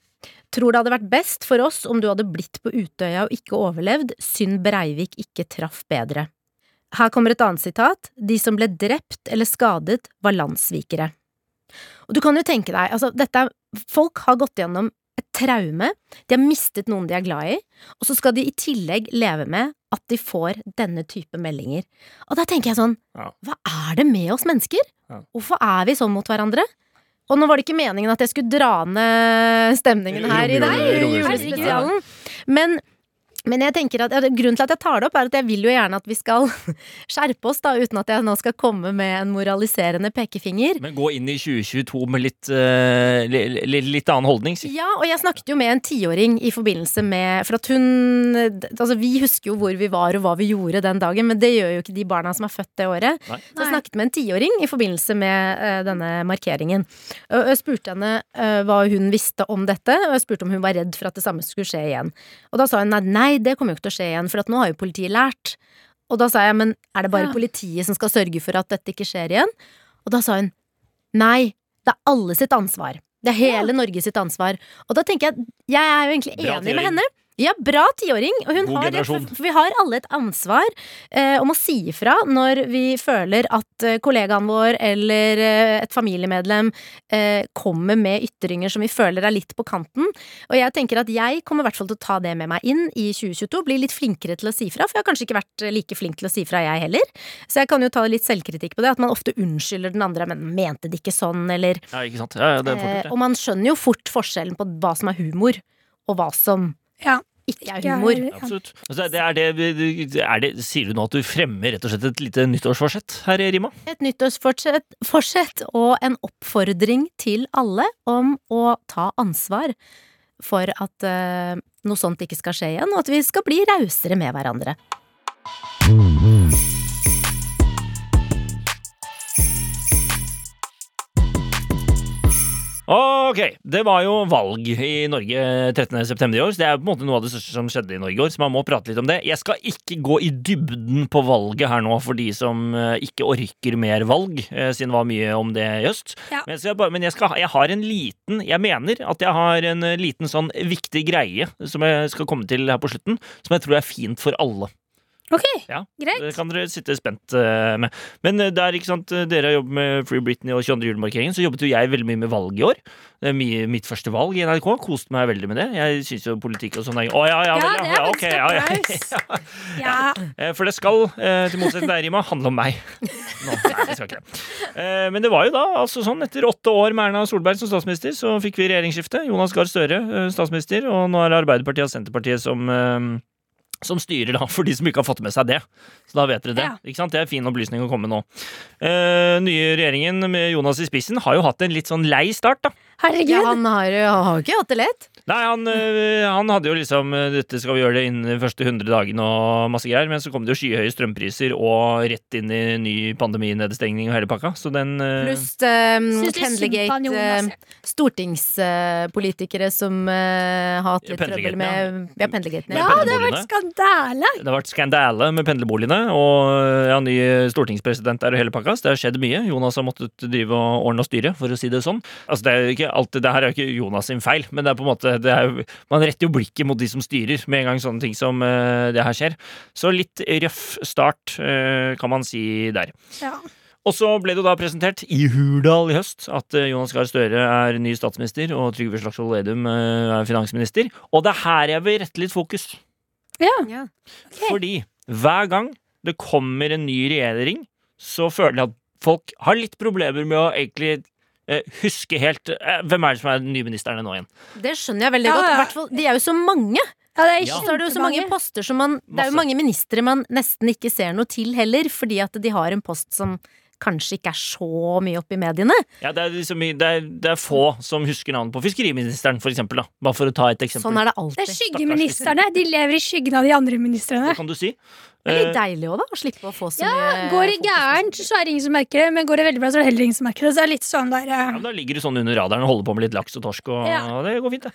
[SPEAKER 3] Tror det hadde vært best for oss om du hadde blitt på Utøya og ikke overlevd. Synd Breivik ikke traff bedre. Her kommer et annet sitat. De som ble drept eller skadet, var landssvikere. Og du kan jo tenke deg, altså dette er Folk har gått gjennom et traume, de har mistet noen de er glad i, og så skal de i tillegg leve med at de får denne type meldinger. Og da tenker jeg sånn,
[SPEAKER 2] Ja.
[SPEAKER 3] hva er det med oss mennesker?
[SPEAKER 2] Ja.
[SPEAKER 3] Hvorfor er vi sånn mot hverandre? Og nå var det ikke meningen at jeg skulle dra ned stemningen her i
[SPEAKER 2] Romjule-
[SPEAKER 3] dag, i
[SPEAKER 2] romjulestemningen,
[SPEAKER 3] julespesialen. Men, men jeg tenker at, ja, grunnen til at jeg tar det opp, er at jeg vil jo gjerne at vi skal (laughs) skjerpe oss, da, uten at jeg nå skal komme med en moraliserende pekefinger.
[SPEAKER 2] Men gå inn i 2022 med litt, eh, li, li, litt annen holdning, si.
[SPEAKER 3] Ja, og jeg snakket jo med en tiåring i forbindelse med For at hun Altså, vi husker jo hvor vi var og hva vi gjorde den dagen, men det gjør jo ikke de barna som er født det året.
[SPEAKER 2] Nei.
[SPEAKER 3] Så jeg
[SPEAKER 4] Nei.
[SPEAKER 3] snakket med en tiåring i forbindelse med eh, denne markeringen. Og jeg spurte henne eh, hva hun visste om dette, og jeg spurte om hun var redd for at det samme skulle skje igjen. Og da sa hun nei, nei det kommer jo ikke til å skje igjen, for at nå har jo politiet lært. Og da sa jeg men er det bare
[SPEAKER 4] Ja.
[SPEAKER 3] politiet som skal sørge for at dette ikke skjer igjen? Og da sa hun nei, det er alle sitt ansvar. Det er hele Norge sitt ansvar. Og da tenker jeg, jeg er jo egentlig
[SPEAKER 2] Bra
[SPEAKER 3] enig
[SPEAKER 2] tiåring.
[SPEAKER 3] med henne. Ja, bra tiåring. Og hun
[SPEAKER 2] God
[SPEAKER 3] har rett,
[SPEAKER 2] generasjon.
[SPEAKER 3] for for vi har alle et ansvar eh, om å si ifra når vi føler at eh, kollegaen vår eller eh, et familiemedlem eh, kommer med ytringer som vi føler er litt på kanten. Og jeg tenker at jeg kommer i hvert fall til å ta det med meg inn i 2022. Bli litt flinkere til å si fra, for jeg har kanskje ikke vært eh, like flink til å si fra, jeg heller. Så jeg kan jo ta litt selvkritikk på det, at man ofte unnskylder den andre, men mente det ikke sånn, eller
[SPEAKER 2] Ja, ikke sant? Ja, ja, det er fort
[SPEAKER 3] eh,
[SPEAKER 2] gjort,
[SPEAKER 3] Og man skjønner jo fort forskjellen på hva som er humor, og hva som
[SPEAKER 4] Ja.
[SPEAKER 3] ikke er humor.
[SPEAKER 2] det. Absolutt. Altså, det er det, vi- er det, sier du nå at du fremmer rett og slett et lite nyttårsforsett her i Rima?
[SPEAKER 3] Et nyttårsfortsett forsett og en oppfordring til alle om å ta ansvar for at eh, noe sånt ikke skal skje igjen, og at vi skal bli rausere med hverandre.
[SPEAKER 2] Ok, det var jo valg i Norge 13.9 i år, så det er på en måte noe av det største som skjedde i Norge i år, så man må prate litt om det. Jeg skal ikke gå i dybden på valget her nå for de som eh, ikke orker mer valg, eh, siden det var mye om det i øst.
[SPEAKER 4] Ja.
[SPEAKER 2] Men, jeg skal, bare- men jeg, skal, ha- jeg har en liten, jeg mener at jeg har en eh, liten sånn viktig greie som jeg skal komme til her på slutten, som jeg tror er fint for alle.
[SPEAKER 4] Ok,
[SPEAKER 2] Ja,
[SPEAKER 4] greit.
[SPEAKER 2] Det kan dere sitte spent eh, med. Men eh, der, ikke sant, eh, dere har jobbet med Free Britney og 22. julemarkeringen, så jobbet jo jeg veldig mye med valg i år. Det er mi- mitt første valg i NRK. Koste meg veldig med det. Jeg syns jo politikk og sånn er Å ja, ja,
[SPEAKER 4] Ja,
[SPEAKER 2] vel,
[SPEAKER 4] det
[SPEAKER 2] ja,
[SPEAKER 4] er
[SPEAKER 2] ja, ok, ja,
[SPEAKER 4] faktisk
[SPEAKER 2] ja. (laughs)
[SPEAKER 4] applaus. Ja.
[SPEAKER 2] Eh, For det skal, eh, til motsetning til deg, Rima, handle om meg. Nå, nei, det skal ikke det. Eh, Men det var jo da altså sånn, etter åtte år med Erna Solberg som statsminister, så fikk vi regjeringsskifte. Jonas Gahr Støre eh, statsminister, og nå er det Arbeiderpartiet og Senterpartiet som eh, som styrer, da, for de som ikke har fått med seg det. Så da vet dere det.
[SPEAKER 4] Ja.
[SPEAKER 2] Ikke sant? Det er fin opplysning å komme med nå. Eh, nye regjeringen med Jonas i spissen har jo hatt en litt sånn lei start, da.
[SPEAKER 4] Herregud.
[SPEAKER 3] Ja, han har jo han har jo ikke hatt det lett.
[SPEAKER 2] Nei, han, øh, han hadde jo liksom øh, Dette skal vi gjøre det innen de første 100 dagene og masse greier, men så kom det jo skyhøye strømpriser og rett inn i ny pandeminedstengning og hele pakka, så den øh,
[SPEAKER 3] Pluss um,
[SPEAKER 4] Synes litt synd på
[SPEAKER 3] Pendlegate.
[SPEAKER 4] han Jonas,
[SPEAKER 3] eh, stortingspolitikere som eh, har hatt litt trøbbel
[SPEAKER 2] Pendlergaten,
[SPEAKER 3] med ja, pendlergaten.
[SPEAKER 4] ja,
[SPEAKER 3] Ja.
[SPEAKER 4] det har vært skandale.
[SPEAKER 2] Det har vært skandale med pendlerboligene, og øh, ja, ny stortingspresident der og hele pakka. Så det har skjedd mye. Jonas har måttet drive og ordne og styre, for å si det sånn. Altså, det er jo ikke alltid, det her er jo ikke Jonas sin feil, men det er på en måte det er, jo- Man retter jo blikket mot de som styrer, med en gang sånne ting som øh, det her skjer. Så litt røff start, øh, kan man si der.
[SPEAKER 4] Ja.
[SPEAKER 2] Og så ble det jo da presentert i Hurdal i høst at eh, Jonas Gahr Støre er ny statsminister og Trygve Slagsvold Vedum eh, er finansminister. Og det er her jeg vil rette litt fokus.
[SPEAKER 4] Ja.
[SPEAKER 3] Ja.
[SPEAKER 2] Fordi hver gang det kommer en ny regjering, så føler jeg at folk har litt problemer med å egentlig eh, huske helt eh, Hvem er det som er den nye ministeren nå igjen?
[SPEAKER 3] Det skjønner jeg veldig
[SPEAKER 4] Ja,
[SPEAKER 3] godt.
[SPEAKER 4] ja.
[SPEAKER 3] Hvertfall- De er jo så mange.
[SPEAKER 4] Ja, det er
[SPEAKER 2] Ja.
[SPEAKER 3] Så er det jo så mange
[SPEAKER 4] kjempemange.
[SPEAKER 3] poster som man Det er
[SPEAKER 2] Masse.
[SPEAKER 3] jo mange ministre man nesten ikke ser noe til heller, fordi at de har en post som kanskje ikke er så mye oppe i mediene.
[SPEAKER 2] Ja, det, er liksom, det, er, det er få som husker navnet på fiskeriministeren, for eksempel. Da. Bare for å ta et eksempel.
[SPEAKER 3] Sånn er det
[SPEAKER 4] Det er
[SPEAKER 3] alltid.
[SPEAKER 4] skyggeministrene. De lever i skyggen av de andre ministrene.
[SPEAKER 2] Det kan du si.
[SPEAKER 3] Det er
[SPEAKER 2] Eh,
[SPEAKER 3] litt deilig òg, da, å slippe å få så mye
[SPEAKER 4] Går det
[SPEAKER 3] fokus.
[SPEAKER 4] gærent, så er det ingen som merker det. Men går det veldig bra, så er det heller ingen som merker det. Så det er litt sånn der eh,
[SPEAKER 2] Ja, men Da ligger du sånn under radaren og holder på med litt laks og torsk, og,
[SPEAKER 4] Ja.
[SPEAKER 2] og det går fint, det.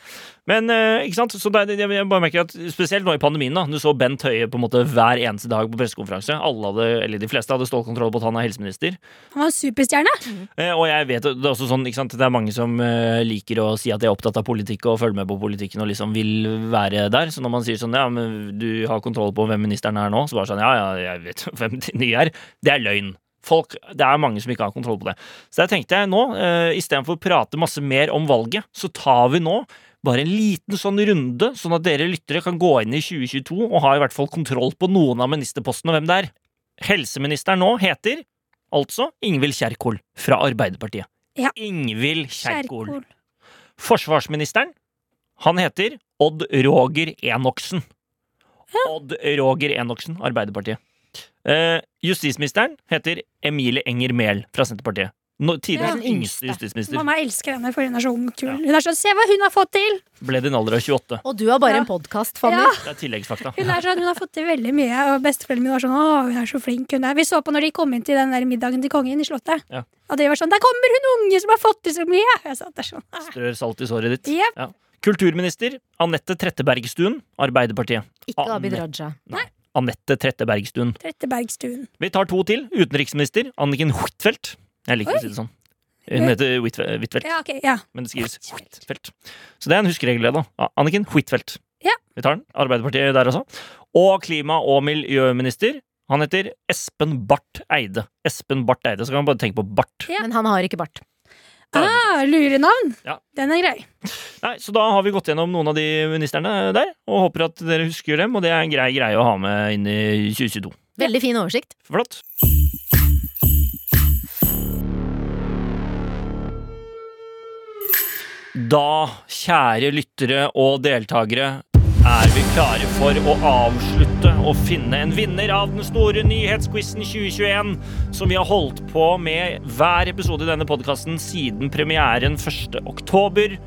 [SPEAKER 2] Men eh, ikke sant, så det, er- jeg bare merker at spesielt nå i pandemien, da, du så Bent Høie på en måte hver eneste dag på pressekonferanse. Alle hadde, eller de fleste hadde stålkontroll på at han er helseminister.
[SPEAKER 4] Han var en superstjerne.
[SPEAKER 2] Eh, og jeg vet, det er også sånn, ikke sant, det er mange som eh, liker å si at de er opptatt av politikk og følger med på politikken og liksom vil være der. Så når man sier sånn, ja, men du har kontroll på hvem ministeren er nå, så bare sånn, ja, ja, jeg vet (laughs) hvem de nye er. Det er løgn. Folk, det er mange som ikke har kontroll på det. Så der tenkte jeg nå, eh, istedenfor å prate masse mer om valget, så tar vi nå bare en liten sånn runde, sånn at dere lyttere kan gå inn i 2022 og ha i hvert fall kontroll på noen av ministerpostene og hvem det er. Helseministeren nå heter Altså Ingvild Kjerkol fra Arbeiderpartiet.
[SPEAKER 4] Ja.
[SPEAKER 2] Ingvild Kjerkol.
[SPEAKER 4] Kjerkol.
[SPEAKER 2] Forsvarsministeren, han heter Odd Roger Enoksen. Odd Roger Enoksen, Arbeiderpartiet. Eh, justisministeren heter Emilie Enger Mehl fra Senterpartiet. No,
[SPEAKER 4] Ja.
[SPEAKER 2] Tidenes
[SPEAKER 3] Den yngste.
[SPEAKER 2] yngste justisminister.
[SPEAKER 4] Mamma elsker henne for hun er så ung. kul. Hun er sånn, Se hva hun har fått til!
[SPEAKER 2] Ble det en alder av 28.
[SPEAKER 3] Og du har bare
[SPEAKER 4] Ja.
[SPEAKER 3] en podkast, Fanny.
[SPEAKER 4] Ja,
[SPEAKER 2] Det er tilleggsfakta.
[SPEAKER 4] hun er sånn, hun har fått til veldig mye. Og besteforeldrene mine var sånn Å, hun er så flink, hun er. Vi så på når de kom inn til den der middagen til kongen i Slottet.
[SPEAKER 2] Ja.
[SPEAKER 4] Og de var sånn Der kommer hun unge som har fått til så mye! Jeg satt der sånn. «Ah,
[SPEAKER 2] Strør salt i såret ditt.
[SPEAKER 4] Jepp.
[SPEAKER 2] Ja. Kulturminister Anette Trettebergstuen, Arbeiderpartiet.
[SPEAKER 3] Ikke Abid
[SPEAKER 2] Anne-
[SPEAKER 3] Raja.
[SPEAKER 2] Anette Trettebergstuen.
[SPEAKER 4] Trettebergstuen.
[SPEAKER 2] Vi tar to til. Utenriksminister Anniken Huitfeldt. Jeg liker å si det sånn. Hun heter Huitfe- Huitfeldt,
[SPEAKER 4] Ja, ok, ja.
[SPEAKER 2] men det skrives Huitfeldt. Så det er en huskeregel, det, da. Ja, Anniken Huitfeldt.
[SPEAKER 4] Ja.
[SPEAKER 2] Vi tar den. Arbeiderpartiet der også. Og klima- og miljøminister. Han heter Espen Barth Eide. Espen Barth Eide, Så kan man bare tenke på bart.
[SPEAKER 4] Ja.
[SPEAKER 3] Men han har ikke bart.
[SPEAKER 4] Ah, lurenavn!
[SPEAKER 2] Ja.
[SPEAKER 4] Den er grei.
[SPEAKER 2] Nei, Så da har vi gått gjennom noen av de ministrene der, og håper at dere husker dem. Og det er en grei greie å ha med inn i 2022.
[SPEAKER 3] Veldig fin oversikt.
[SPEAKER 2] Flott. Da, kjære lyttere og deltakere, er vi klare for å avslutte og finne en vinner av den store nyhetsquizen 2021, som vi har holdt på med hver episode i denne podkasten siden premieren 1. oktober.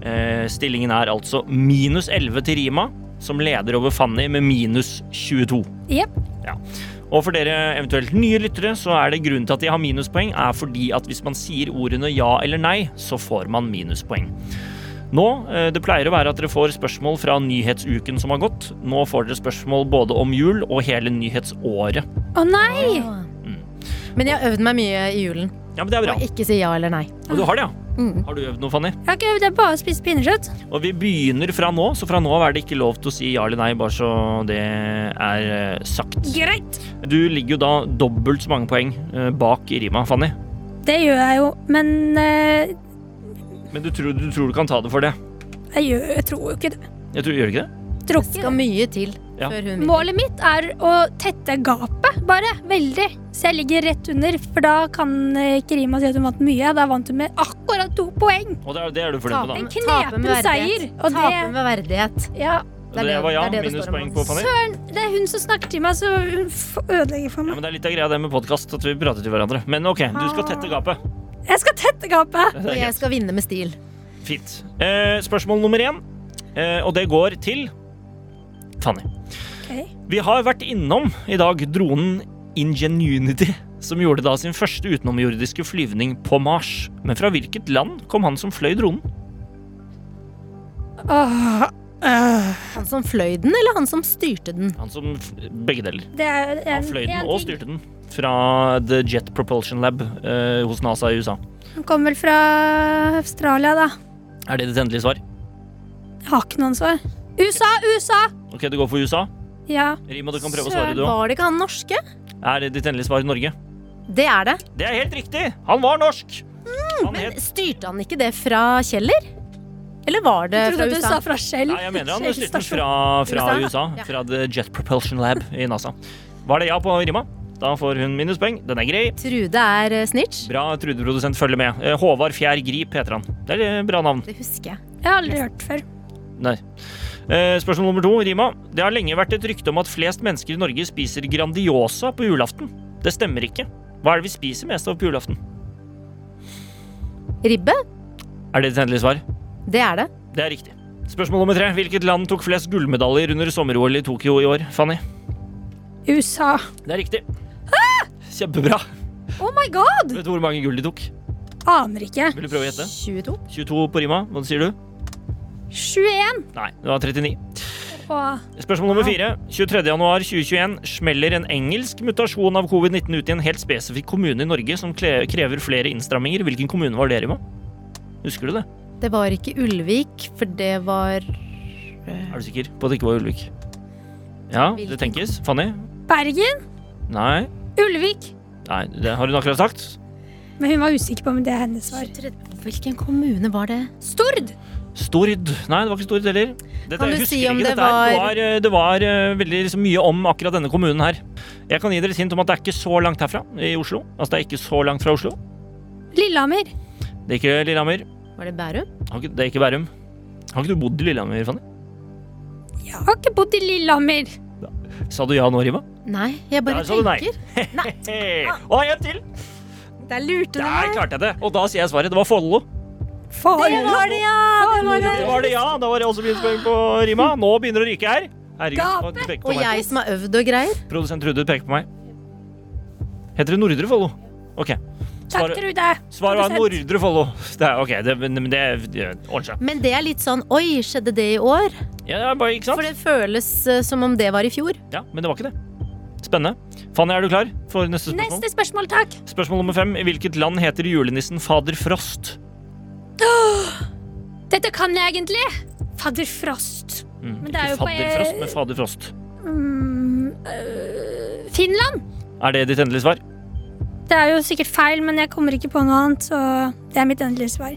[SPEAKER 2] Eh, stillingen er altså minus 11 til Rima, som leder over Fanny med minus 22.
[SPEAKER 4] Jepp.
[SPEAKER 2] Ja. Og for dere eventuelt nye lyttere, så er det grunnen til at de har minuspoeng, er fordi at hvis man sier ordene ja eller nei, så får man minuspoeng. Nå, eh, Det pleier å være at dere får spørsmål fra nyhetsuken som har gått. Nå får dere spørsmål både om jul og hele nyhetsåret.
[SPEAKER 4] Å nei!
[SPEAKER 3] Men jeg har øvd meg mye i julen.
[SPEAKER 2] Ja, men det er bra.
[SPEAKER 3] Ikke si ja eller nei.
[SPEAKER 2] Og du har det, ja? Har du øvd noe, Fanny?
[SPEAKER 4] Jeg har ikke øvd, jeg har bare spist pinnekjøtt.
[SPEAKER 2] Og vi begynner fra nå, så fra nå av er det ikke lov til å si ja eller nei, bare så det er eh, sagt.
[SPEAKER 4] Greit!
[SPEAKER 2] Du ligger jo da dobbelt så mange poeng eh, bak Rima, Fanny.
[SPEAKER 4] Det gjør jeg jo, men eh,
[SPEAKER 2] Men du tror, du tror du kan ta det for det?
[SPEAKER 4] jeg, gjør, jeg tror jo ikke det.
[SPEAKER 2] Jeg tror, gjør du ikke det?
[SPEAKER 4] Tror
[SPEAKER 3] Det
[SPEAKER 4] ikke
[SPEAKER 3] skal
[SPEAKER 4] det.
[SPEAKER 3] mye til
[SPEAKER 2] Ja.
[SPEAKER 3] før hun vinner.
[SPEAKER 4] Målet mitt er å tette gapet, bare. Veldig. Så jeg ligger rett under, for da kan eh, ikke Rima si at hun vant mye. Da vant hun med akkurat to poeng.
[SPEAKER 2] Og det er, det er du fornøyd med,
[SPEAKER 4] En
[SPEAKER 3] Tape
[SPEAKER 4] knepen seier.
[SPEAKER 3] med verdighet.
[SPEAKER 4] Og
[SPEAKER 3] Tape
[SPEAKER 4] det,
[SPEAKER 3] med verdighet.
[SPEAKER 4] ja,
[SPEAKER 2] da? Det var ja,
[SPEAKER 3] det er det det står om.
[SPEAKER 2] minuspoeng på Fanny.
[SPEAKER 4] det er hun som snakker til meg, så hun f- ødelegger for
[SPEAKER 2] Ja,
[SPEAKER 4] meg.
[SPEAKER 2] men Det er litt av greia det med podkast, at vi prater til hverandre. Men OK, du skal tette gapet.
[SPEAKER 4] Jeg skal tette gapet.
[SPEAKER 2] Det
[SPEAKER 3] Og
[SPEAKER 2] er
[SPEAKER 3] Ah. jeg skal vinne med stil.
[SPEAKER 2] greit. Fint. Eh, spørsmål nummer én, eh, og det går til Fanny.
[SPEAKER 4] Ok.
[SPEAKER 2] Vi har vært innom i dag dronen Ingenuity, som gjorde da sin første utenomjordiske flyvning på Mars. Men fra hvilket land kom han som fløy dronen?
[SPEAKER 4] Åh, øh.
[SPEAKER 3] Han som fløy den, eller han som styrte den?
[SPEAKER 2] Han som f Begge deler.
[SPEAKER 4] Det er en,
[SPEAKER 2] Han fløy den
[SPEAKER 4] en
[SPEAKER 2] og
[SPEAKER 4] ting.
[SPEAKER 2] styrte den. Fra The Jet Propulsion Lab eh, hos NASA i USA.
[SPEAKER 4] Han kommer fra Australia, da.
[SPEAKER 2] Er det ditt endelige svar?
[SPEAKER 4] Jeg har ikke noen svar. USA, USA!
[SPEAKER 2] OK, du går for USA.
[SPEAKER 4] Ja.
[SPEAKER 2] Rima, du kan prøve å svare, du òg.
[SPEAKER 3] Var det ikke han norske?
[SPEAKER 2] Er det ditt endelige svar Norge?
[SPEAKER 3] Det er det.
[SPEAKER 2] Det er helt riktig! Han var norsk!
[SPEAKER 3] Mm,
[SPEAKER 2] Han het
[SPEAKER 3] Styrte han ikke det fra Kjeller? Eller var det
[SPEAKER 4] Jeg
[SPEAKER 3] Eh, fra
[SPEAKER 4] trodde at du
[SPEAKER 3] USA?
[SPEAKER 4] sa fra Shell.
[SPEAKER 2] Nei, jeg mener han styrte den
[SPEAKER 4] Stasjon.
[SPEAKER 2] fra, fra
[SPEAKER 3] USA,
[SPEAKER 2] USA.
[SPEAKER 3] ja.
[SPEAKER 2] Fra The Jet Propulsion Lab i NASA. Var det ja på rima? Da får hun minuspoeng. Den er grei.
[SPEAKER 3] Trude er eh, snitch.
[SPEAKER 2] Bra Trude-produsent følger med. Eh, Håvard Fjær Grip heter han. Det er et bra navn.
[SPEAKER 3] Det husker jeg.
[SPEAKER 4] Jeg har aldri hørt før.
[SPEAKER 2] Nei. Eh, Spørsmål nummer to, Rima. Det har lenge vært et rykte om at flest mennesker i Norge spiser Grandiosa på julaften. Det stemmer ikke. Hva er det vi spiser mest av på julaften?
[SPEAKER 3] Ribbe?
[SPEAKER 2] Er det ditt endelige svar?
[SPEAKER 3] Det er det.
[SPEAKER 2] Det er riktig. Spørsmål nummer tre. Hvilket land tok flest gullmedaljer under sommer-OL i Tokyo i år? Fanny?
[SPEAKER 4] USA.
[SPEAKER 2] Det er riktig. Kjempebra.
[SPEAKER 4] Oh my god!
[SPEAKER 2] Vet du hvor mange gull de tok?
[SPEAKER 4] Aner ikke.
[SPEAKER 2] Vil du prøve å gjette?
[SPEAKER 3] 22.
[SPEAKER 2] 22 på rima. Hva sier du?
[SPEAKER 4] 21.
[SPEAKER 2] Nei, det var 39.
[SPEAKER 4] Og
[SPEAKER 2] Spørsmål nummer fire. 23.1.2021 smeller en engelsk mutasjon av covid-19 ut i en helt spesifikk kommune i Norge som kle- krever flere innstramminger. Hvilken kommune var dere med? Husker du det?
[SPEAKER 3] Det var ikke Ulvik, for det var
[SPEAKER 2] Er du sikker på at det ikke var Ulvik? Ja, det tenkes. Fanny?
[SPEAKER 4] Bergen.
[SPEAKER 2] Nei.
[SPEAKER 4] Ulvik.
[SPEAKER 2] Nei, det har hun akkurat sagt.
[SPEAKER 4] Men hun var usikker på om det er hennes svar.
[SPEAKER 3] Hvilken kommune var det?
[SPEAKER 4] Stord!
[SPEAKER 2] Stord. Nei, det var ikke Stord heller. Dette,
[SPEAKER 3] Kan du
[SPEAKER 2] jeg husker
[SPEAKER 3] si om
[SPEAKER 2] ikke
[SPEAKER 3] det
[SPEAKER 2] dette her.
[SPEAKER 3] var-
[SPEAKER 2] Det var, eh, det var eh, veldig liksom, mye om akkurat denne kommunen her. Jeg kan gi dere et hint om at det er ikke så langt herfra i Oslo. Altså, det er ikke så langt fra Oslo.
[SPEAKER 4] Lillehammer.
[SPEAKER 2] Det er ikke Lillehammer.
[SPEAKER 3] Var det Bærum?
[SPEAKER 2] Har ikke- Det er ikke Bærum. Har ikke du bodd i Lillehammer, Fanny?
[SPEAKER 4] Jeg har ikke bodd i Lillehammer.
[SPEAKER 2] Sa du ja nå, Rima?
[SPEAKER 3] Nei, jeg bare
[SPEAKER 2] Der sa du nei.
[SPEAKER 3] tenker.
[SPEAKER 2] (laughs) Hei. Og en til!
[SPEAKER 3] Der lurte du
[SPEAKER 2] Der
[SPEAKER 3] meg.
[SPEAKER 2] klarte jeg det. Og da sier jeg svaret. Det var Follo.
[SPEAKER 4] Faen.
[SPEAKER 3] Det var det, ja! Det var det.
[SPEAKER 2] Det var det, ja. Da var det også minuspoeng på Rima. Nå begynner det å ryke her. Herregud. du peker på
[SPEAKER 3] Og
[SPEAKER 2] meg.
[SPEAKER 3] jeg som har øvd og greier.
[SPEAKER 2] Produsent Trude peker på meg. Heter det Nordre Follo? OK.
[SPEAKER 4] Takk,
[SPEAKER 2] Svaret-
[SPEAKER 4] Trude.
[SPEAKER 2] Svaret var
[SPEAKER 4] Produsent.
[SPEAKER 2] Nordre Follo. Det er, ok, det, men men det, det ordner seg.
[SPEAKER 3] Men det er litt sånn oi, skjedde det i år?
[SPEAKER 2] Ja, det er bare, ikke
[SPEAKER 3] For
[SPEAKER 2] sant?
[SPEAKER 3] det føles eh, som om det var i fjor.
[SPEAKER 2] Ja, men det var ikke det. Spennende. Fanny, er du klar for neste spørsmål?
[SPEAKER 4] Neste spørsmål, takk.
[SPEAKER 2] Spørsmål nummer fem. I hvilket land heter julenissen Fader Frost?
[SPEAKER 4] Dette kan jeg egentlig. Fadder Frost.
[SPEAKER 2] Mm,
[SPEAKER 4] Men det
[SPEAKER 2] ikke
[SPEAKER 4] er jo på- E-
[SPEAKER 2] Fader Frost, men Fader Frost.
[SPEAKER 4] Mm, øh, Finland.
[SPEAKER 2] Er det ditt endelige svar?
[SPEAKER 4] Det er jo sikkert feil, men jeg kommer ikke på noe annet, så det er mitt endelige svar.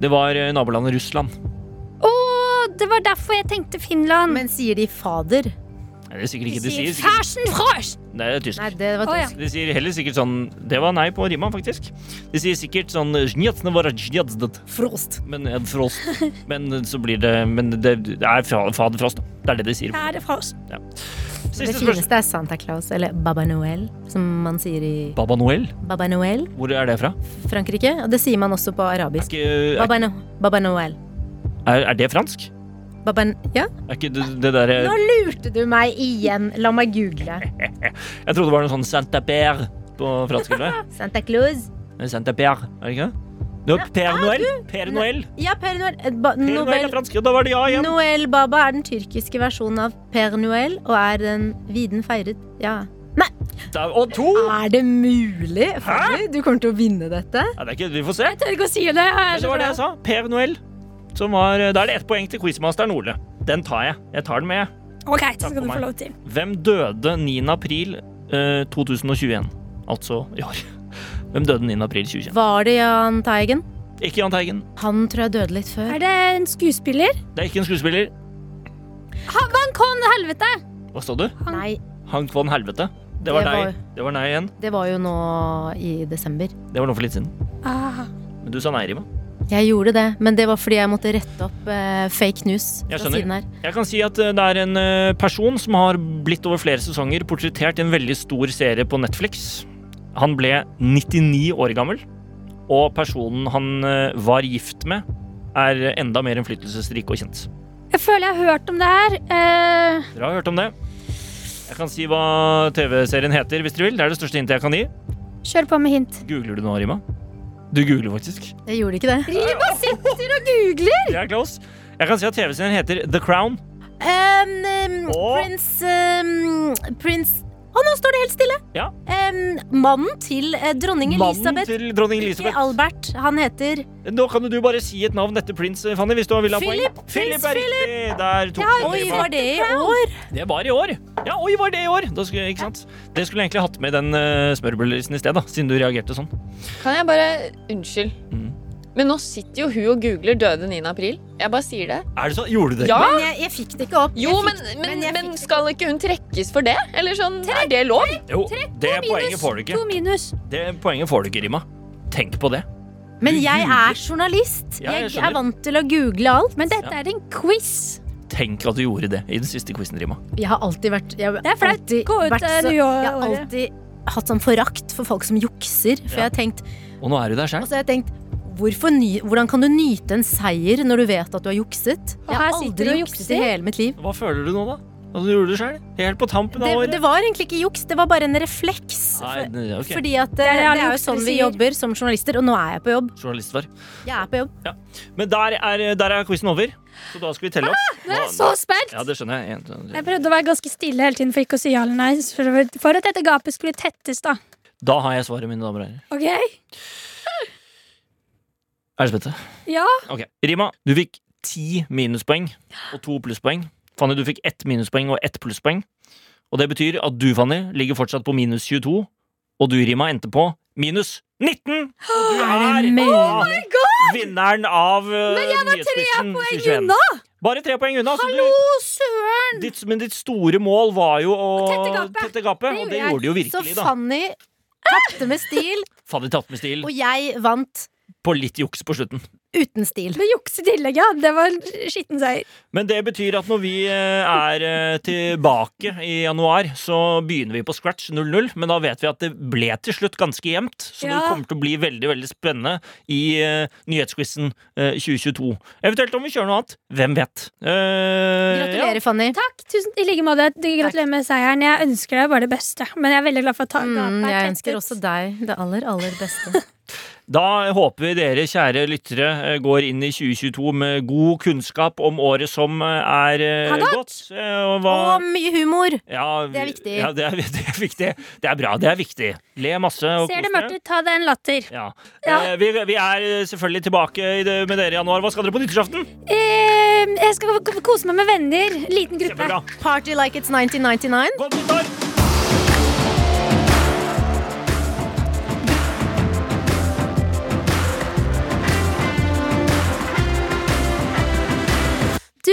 [SPEAKER 2] Det var eh, nabolandet Russland.
[SPEAKER 4] Å, det var derfor jeg tenkte Finland.
[SPEAKER 3] Men sier de fader?
[SPEAKER 2] Nei, det er sikkert
[SPEAKER 4] de
[SPEAKER 2] ikke det sier.
[SPEAKER 4] sier
[SPEAKER 2] Sikkert,
[SPEAKER 4] Fersen Frost!
[SPEAKER 2] nei, det er tysk.
[SPEAKER 3] Nei, det var
[SPEAKER 4] Å, ja.
[SPEAKER 3] tysk.
[SPEAKER 2] De sier heller sikkert sånn Det var nei på rima, faktisk. De sier sikkert sånn «Znjetsne våre znjetsdet».
[SPEAKER 3] Frost.
[SPEAKER 2] Men, eh, Frost. men eh, så blir det Men det det er fra- Fader Frost. da. Det er det de sier.
[SPEAKER 4] Kjære Frost.
[SPEAKER 3] Det
[SPEAKER 2] Siste spørsmål.
[SPEAKER 3] fineste er Santa Claus, eller Baba Noel, som man sier i
[SPEAKER 2] Baba Noel?
[SPEAKER 3] Baba Noel,
[SPEAKER 2] Hvor er det fra?
[SPEAKER 3] Frankrike. Og det sier man også på
[SPEAKER 2] Er,
[SPEAKER 3] arabisk.
[SPEAKER 2] ikke,
[SPEAKER 3] Baba, no, Baba Noel.
[SPEAKER 2] er, er det fransk?
[SPEAKER 3] Baba, ja?
[SPEAKER 2] Er ikke det, eh, det derre
[SPEAKER 3] Nå lurte du meg igjen! La meg google.
[SPEAKER 2] Jeg trodde det var noe sånn Saint-Apère på fransk. Eller?
[SPEAKER 3] (laughs) Santa Claus.
[SPEAKER 2] noe? Saint-Apère, er det ikke det? No, Père Noël. Père Noël.
[SPEAKER 3] Ja, Per Noel. eh, Ba,
[SPEAKER 2] Père Noël
[SPEAKER 3] Nobel.
[SPEAKER 2] er fransk. Og da var det ja igjen.
[SPEAKER 3] Noel Baba er den tyrkiske versjonen av Per Noel, og er den viden feiret Ja. Nei!
[SPEAKER 2] dette Og to!
[SPEAKER 3] Er det mulig? Fanny? Du kommer til å vinne dette.
[SPEAKER 2] Ja, det er ikke, vi får se.
[SPEAKER 4] Jeg tør ikke å si det. Jeg er
[SPEAKER 2] Men det
[SPEAKER 4] så
[SPEAKER 2] var det jeg
[SPEAKER 4] flau.
[SPEAKER 2] sa. Per Noel. Som var, da er det ett poeng til quizmasteren Ole. Den tar jeg. Jeg tar den med. jeg.
[SPEAKER 4] OK, det skal
[SPEAKER 2] for
[SPEAKER 4] du
[SPEAKER 2] meg.
[SPEAKER 4] få lov til.
[SPEAKER 2] Hvem døde 9. april eh, 2021? Altså i år. (laughs) Hvem døde 9. april 2021?
[SPEAKER 3] Var det Jahn Teigen?
[SPEAKER 2] Ikke Jahn Teigen.
[SPEAKER 3] Han tror jeg døde litt før.
[SPEAKER 4] Er det en skuespiller?
[SPEAKER 2] Det er ikke en skuespiller.
[SPEAKER 4] Han han kom til helvete!
[SPEAKER 2] Hva sa du?
[SPEAKER 3] Nei,
[SPEAKER 2] Hank von Helvete. Det var
[SPEAKER 3] Det var-
[SPEAKER 2] deg. Det var nei igjen.
[SPEAKER 3] det var jo nå i desember.
[SPEAKER 2] Det var nå for litt siden.
[SPEAKER 4] Ah,
[SPEAKER 2] Men du sa nei, Rima.
[SPEAKER 3] Jeg gjorde det, men det var fordi jeg måtte rette opp eh, fake news
[SPEAKER 2] Jeg
[SPEAKER 3] fra
[SPEAKER 2] skjønner.
[SPEAKER 3] siden her.
[SPEAKER 2] Jeg kan si at eh, det er en eh, person som har blitt over flere sesonger portrettert i en veldig stor serie på Netflix. Han ble 99 år gammel, og personen han eh, var gift med, er enda mer innflytelsesrik og kjent.
[SPEAKER 4] jeg føler jeg har hørt om det her. Eh,
[SPEAKER 2] Dere har hørt om det? Jeg kan si hva TV-serien heter, hvis dere vil. Det er det største hintet jeg kan gi.
[SPEAKER 4] kjør på med hint.
[SPEAKER 2] Googler du nå, Rima? Du googler faktisk.
[SPEAKER 3] Jeg gjorde ikke det.
[SPEAKER 4] Rima sitter og googler!
[SPEAKER 2] Det er close. Jeg kan si at TV-serien heter The Crown.
[SPEAKER 3] Um, um,
[SPEAKER 2] Åh.
[SPEAKER 3] Prins um, Prins Å, nå står det helt stille!
[SPEAKER 2] Ja.
[SPEAKER 3] Um, mannen til eh, dronning
[SPEAKER 2] Mannen
[SPEAKER 3] Elisabeth.
[SPEAKER 2] til dronning
[SPEAKER 3] Ikke
[SPEAKER 2] Elisabeth.
[SPEAKER 3] Albert. Han heter
[SPEAKER 2] Nå kan jo du bare si et navn etter prins, eh, Fanny, hvis du vil ha poeng.
[SPEAKER 3] Philip,
[SPEAKER 2] Philip
[SPEAKER 3] prins
[SPEAKER 2] er riktig! Der tok du
[SPEAKER 3] Oi,
[SPEAKER 2] Rima.
[SPEAKER 3] var det i år?
[SPEAKER 2] Det var i år. Ja, oi, var det i år? Da skulle, ikke sant? Det skulle jeg egentlig hatt med i den uh, smørbrødlisten i sted, da, siden du reagerte sånn.
[SPEAKER 5] Kan jeg bare Unnskyld.
[SPEAKER 2] Mm.
[SPEAKER 5] Men nå sitter jo hun og googler døde 9. april. Jeg bare sier det.
[SPEAKER 2] Er det så? Gjorde du det?
[SPEAKER 5] Ja!
[SPEAKER 3] Men jeg, jeg fikk det ikke opp.
[SPEAKER 5] Jo,
[SPEAKER 3] jeg
[SPEAKER 5] men,
[SPEAKER 3] fikk,
[SPEAKER 5] men,
[SPEAKER 3] jeg
[SPEAKER 5] men
[SPEAKER 3] fikk det
[SPEAKER 5] skal ikke hun trekkes for det? Eller sånn, er det lov?
[SPEAKER 2] Jo, det poenget får du ikke.
[SPEAKER 4] To minus.
[SPEAKER 2] Det poenget får du ikke, Rima. Tenk på det.
[SPEAKER 3] ikke. men jeg er journalist.
[SPEAKER 2] Ja, jeg
[SPEAKER 3] jeg,
[SPEAKER 2] skjønner.
[SPEAKER 3] er vant til å google alt.
[SPEAKER 4] Men dette er en quiz.
[SPEAKER 2] Tenk at du gjorde det i den siste quizen, Rima.
[SPEAKER 3] Jeg har alltid vært jeg har
[SPEAKER 4] Det er flaut.
[SPEAKER 3] alltid
[SPEAKER 4] Gå ut,
[SPEAKER 3] vært
[SPEAKER 4] eh,
[SPEAKER 3] så-
[SPEAKER 4] nyåret.
[SPEAKER 3] Jeg har alltid hatt sånn forakt for folk som jukser. For
[SPEAKER 2] Ja.
[SPEAKER 3] jeg har tenkt,
[SPEAKER 2] Og nå er du der
[SPEAKER 3] og
[SPEAKER 2] sjøl.
[SPEAKER 3] så har jeg tenkt hvorfor ny, Hvordan kan du nyte en seier når du vet at du har jukset?
[SPEAKER 4] Og
[SPEAKER 3] Jeg har
[SPEAKER 4] her sitter du
[SPEAKER 3] aldri
[SPEAKER 4] og
[SPEAKER 3] jukset i
[SPEAKER 4] jukser.
[SPEAKER 3] hele mitt liv.
[SPEAKER 2] Hva føler du nå, da? Altså, du gjorde det sjøl. Helt på tampen av
[SPEAKER 3] Det,
[SPEAKER 2] året.
[SPEAKER 3] det var egentlig ikke juks, det var bare en refleks.
[SPEAKER 2] Nei,
[SPEAKER 3] For,
[SPEAKER 2] det- ok.
[SPEAKER 3] Fordi at eh,
[SPEAKER 4] er det
[SPEAKER 3] det
[SPEAKER 4] alle
[SPEAKER 3] er jo
[SPEAKER 4] juksere
[SPEAKER 3] sånn vi
[SPEAKER 4] sier.
[SPEAKER 3] jobber som journalister, og nå er jeg på jobb.
[SPEAKER 2] Journalist var.
[SPEAKER 3] Jeg er på jobb.
[SPEAKER 2] Men der er, der er quizen over. Så da skal vi telle
[SPEAKER 3] Ah,
[SPEAKER 2] opp.
[SPEAKER 4] Nå er jeg så spent!
[SPEAKER 2] Ja, det skjønner jeg. En, to, tre.
[SPEAKER 4] Jeg prøvde å være ganske stille hele tiden for ikke å si ja eller nei. For for at dette gapet skulle tettes, da.
[SPEAKER 2] Da har jeg svaret, mine damer og herrer.
[SPEAKER 4] OK?
[SPEAKER 2] Er du spente?
[SPEAKER 4] Ja.
[SPEAKER 2] Ok, Rima, du fikk ti minuspoeng og to plusspoeng. Fanny, du fikk ett minuspoeng og ett plusspoeng. Og det betyr at du, Fanny, ligger fortsatt på minus 22, og du, Rima, endte på minus 19! Og du
[SPEAKER 3] Er det mulig?
[SPEAKER 2] da vinneren av eh, Men jeg var tre poeng
[SPEAKER 4] unna!
[SPEAKER 2] Bare tre poeng unna. så du,
[SPEAKER 4] Å, søren!
[SPEAKER 2] ditt, men ditt store mål var jo å
[SPEAKER 4] Å tette gapet.
[SPEAKER 2] tette gapet, og
[SPEAKER 4] Det
[SPEAKER 2] det
[SPEAKER 4] gjorde jeg.
[SPEAKER 2] gjorde du jo
[SPEAKER 3] Så
[SPEAKER 2] virkelig, da.
[SPEAKER 3] Fanny tapte med stil,
[SPEAKER 2] Fanny tatt med stil
[SPEAKER 3] og jeg vant
[SPEAKER 2] på litt juks på slutten.
[SPEAKER 3] uten stil.
[SPEAKER 4] Med juks i tillegg, ja. Det var en skitten seier.
[SPEAKER 2] Men det betyr at når vi eh, er eh, tilbake i januar, så begynner vi på scratch 0-0. Men da vet vi at det ble til slutt ganske jevnt, så det
[SPEAKER 4] Ja.
[SPEAKER 2] kommer til å bli veldig veldig spennende i uh, nyhetsquizen 2022. Eventuelt om vi kjører noe annet. Hvem vet? Eh,
[SPEAKER 3] Gratulerer, Fanny.
[SPEAKER 4] Takk. Tusen I like måte. Du, Gratulerer med seieren. Jeg ønsker deg bare det beste. Men jeg er veldig glad for at ta-
[SPEAKER 3] Mm,
[SPEAKER 4] gapet
[SPEAKER 3] jeg
[SPEAKER 4] er
[SPEAKER 3] ønsker
[SPEAKER 4] tettet.
[SPEAKER 3] også deg det aller, aller beste.
[SPEAKER 2] Da håper vi dere, kjære lyttere, eh, går inn i 2022 med god kunnskap om året som eh, er eh,
[SPEAKER 4] Har gått.
[SPEAKER 2] gått. eh, og hva-
[SPEAKER 3] Og mye humor!
[SPEAKER 2] ja,
[SPEAKER 3] det er
[SPEAKER 2] vi-
[SPEAKER 3] viktig.
[SPEAKER 2] Ja, det, er, (laughs) det er viktig. Det er bra. Det er viktig. Le masse. og
[SPEAKER 4] Ser
[SPEAKER 2] kos
[SPEAKER 4] det
[SPEAKER 2] dere.
[SPEAKER 4] mørkt ut, ta deg en latter.
[SPEAKER 2] Ja.
[SPEAKER 4] Ja.
[SPEAKER 2] Eh, vi, vi er selvfølgelig tilbake i det, med dere i januar. Hva skal dere på nyttårsaften?
[SPEAKER 4] Eh, jeg skal k- kose meg med venner. Liten gruppe.
[SPEAKER 2] Kjempebra.
[SPEAKER 3] Party like it's 1999.
[SPEAKER 2] Godt nyttår!
[SPEAKER 4] Du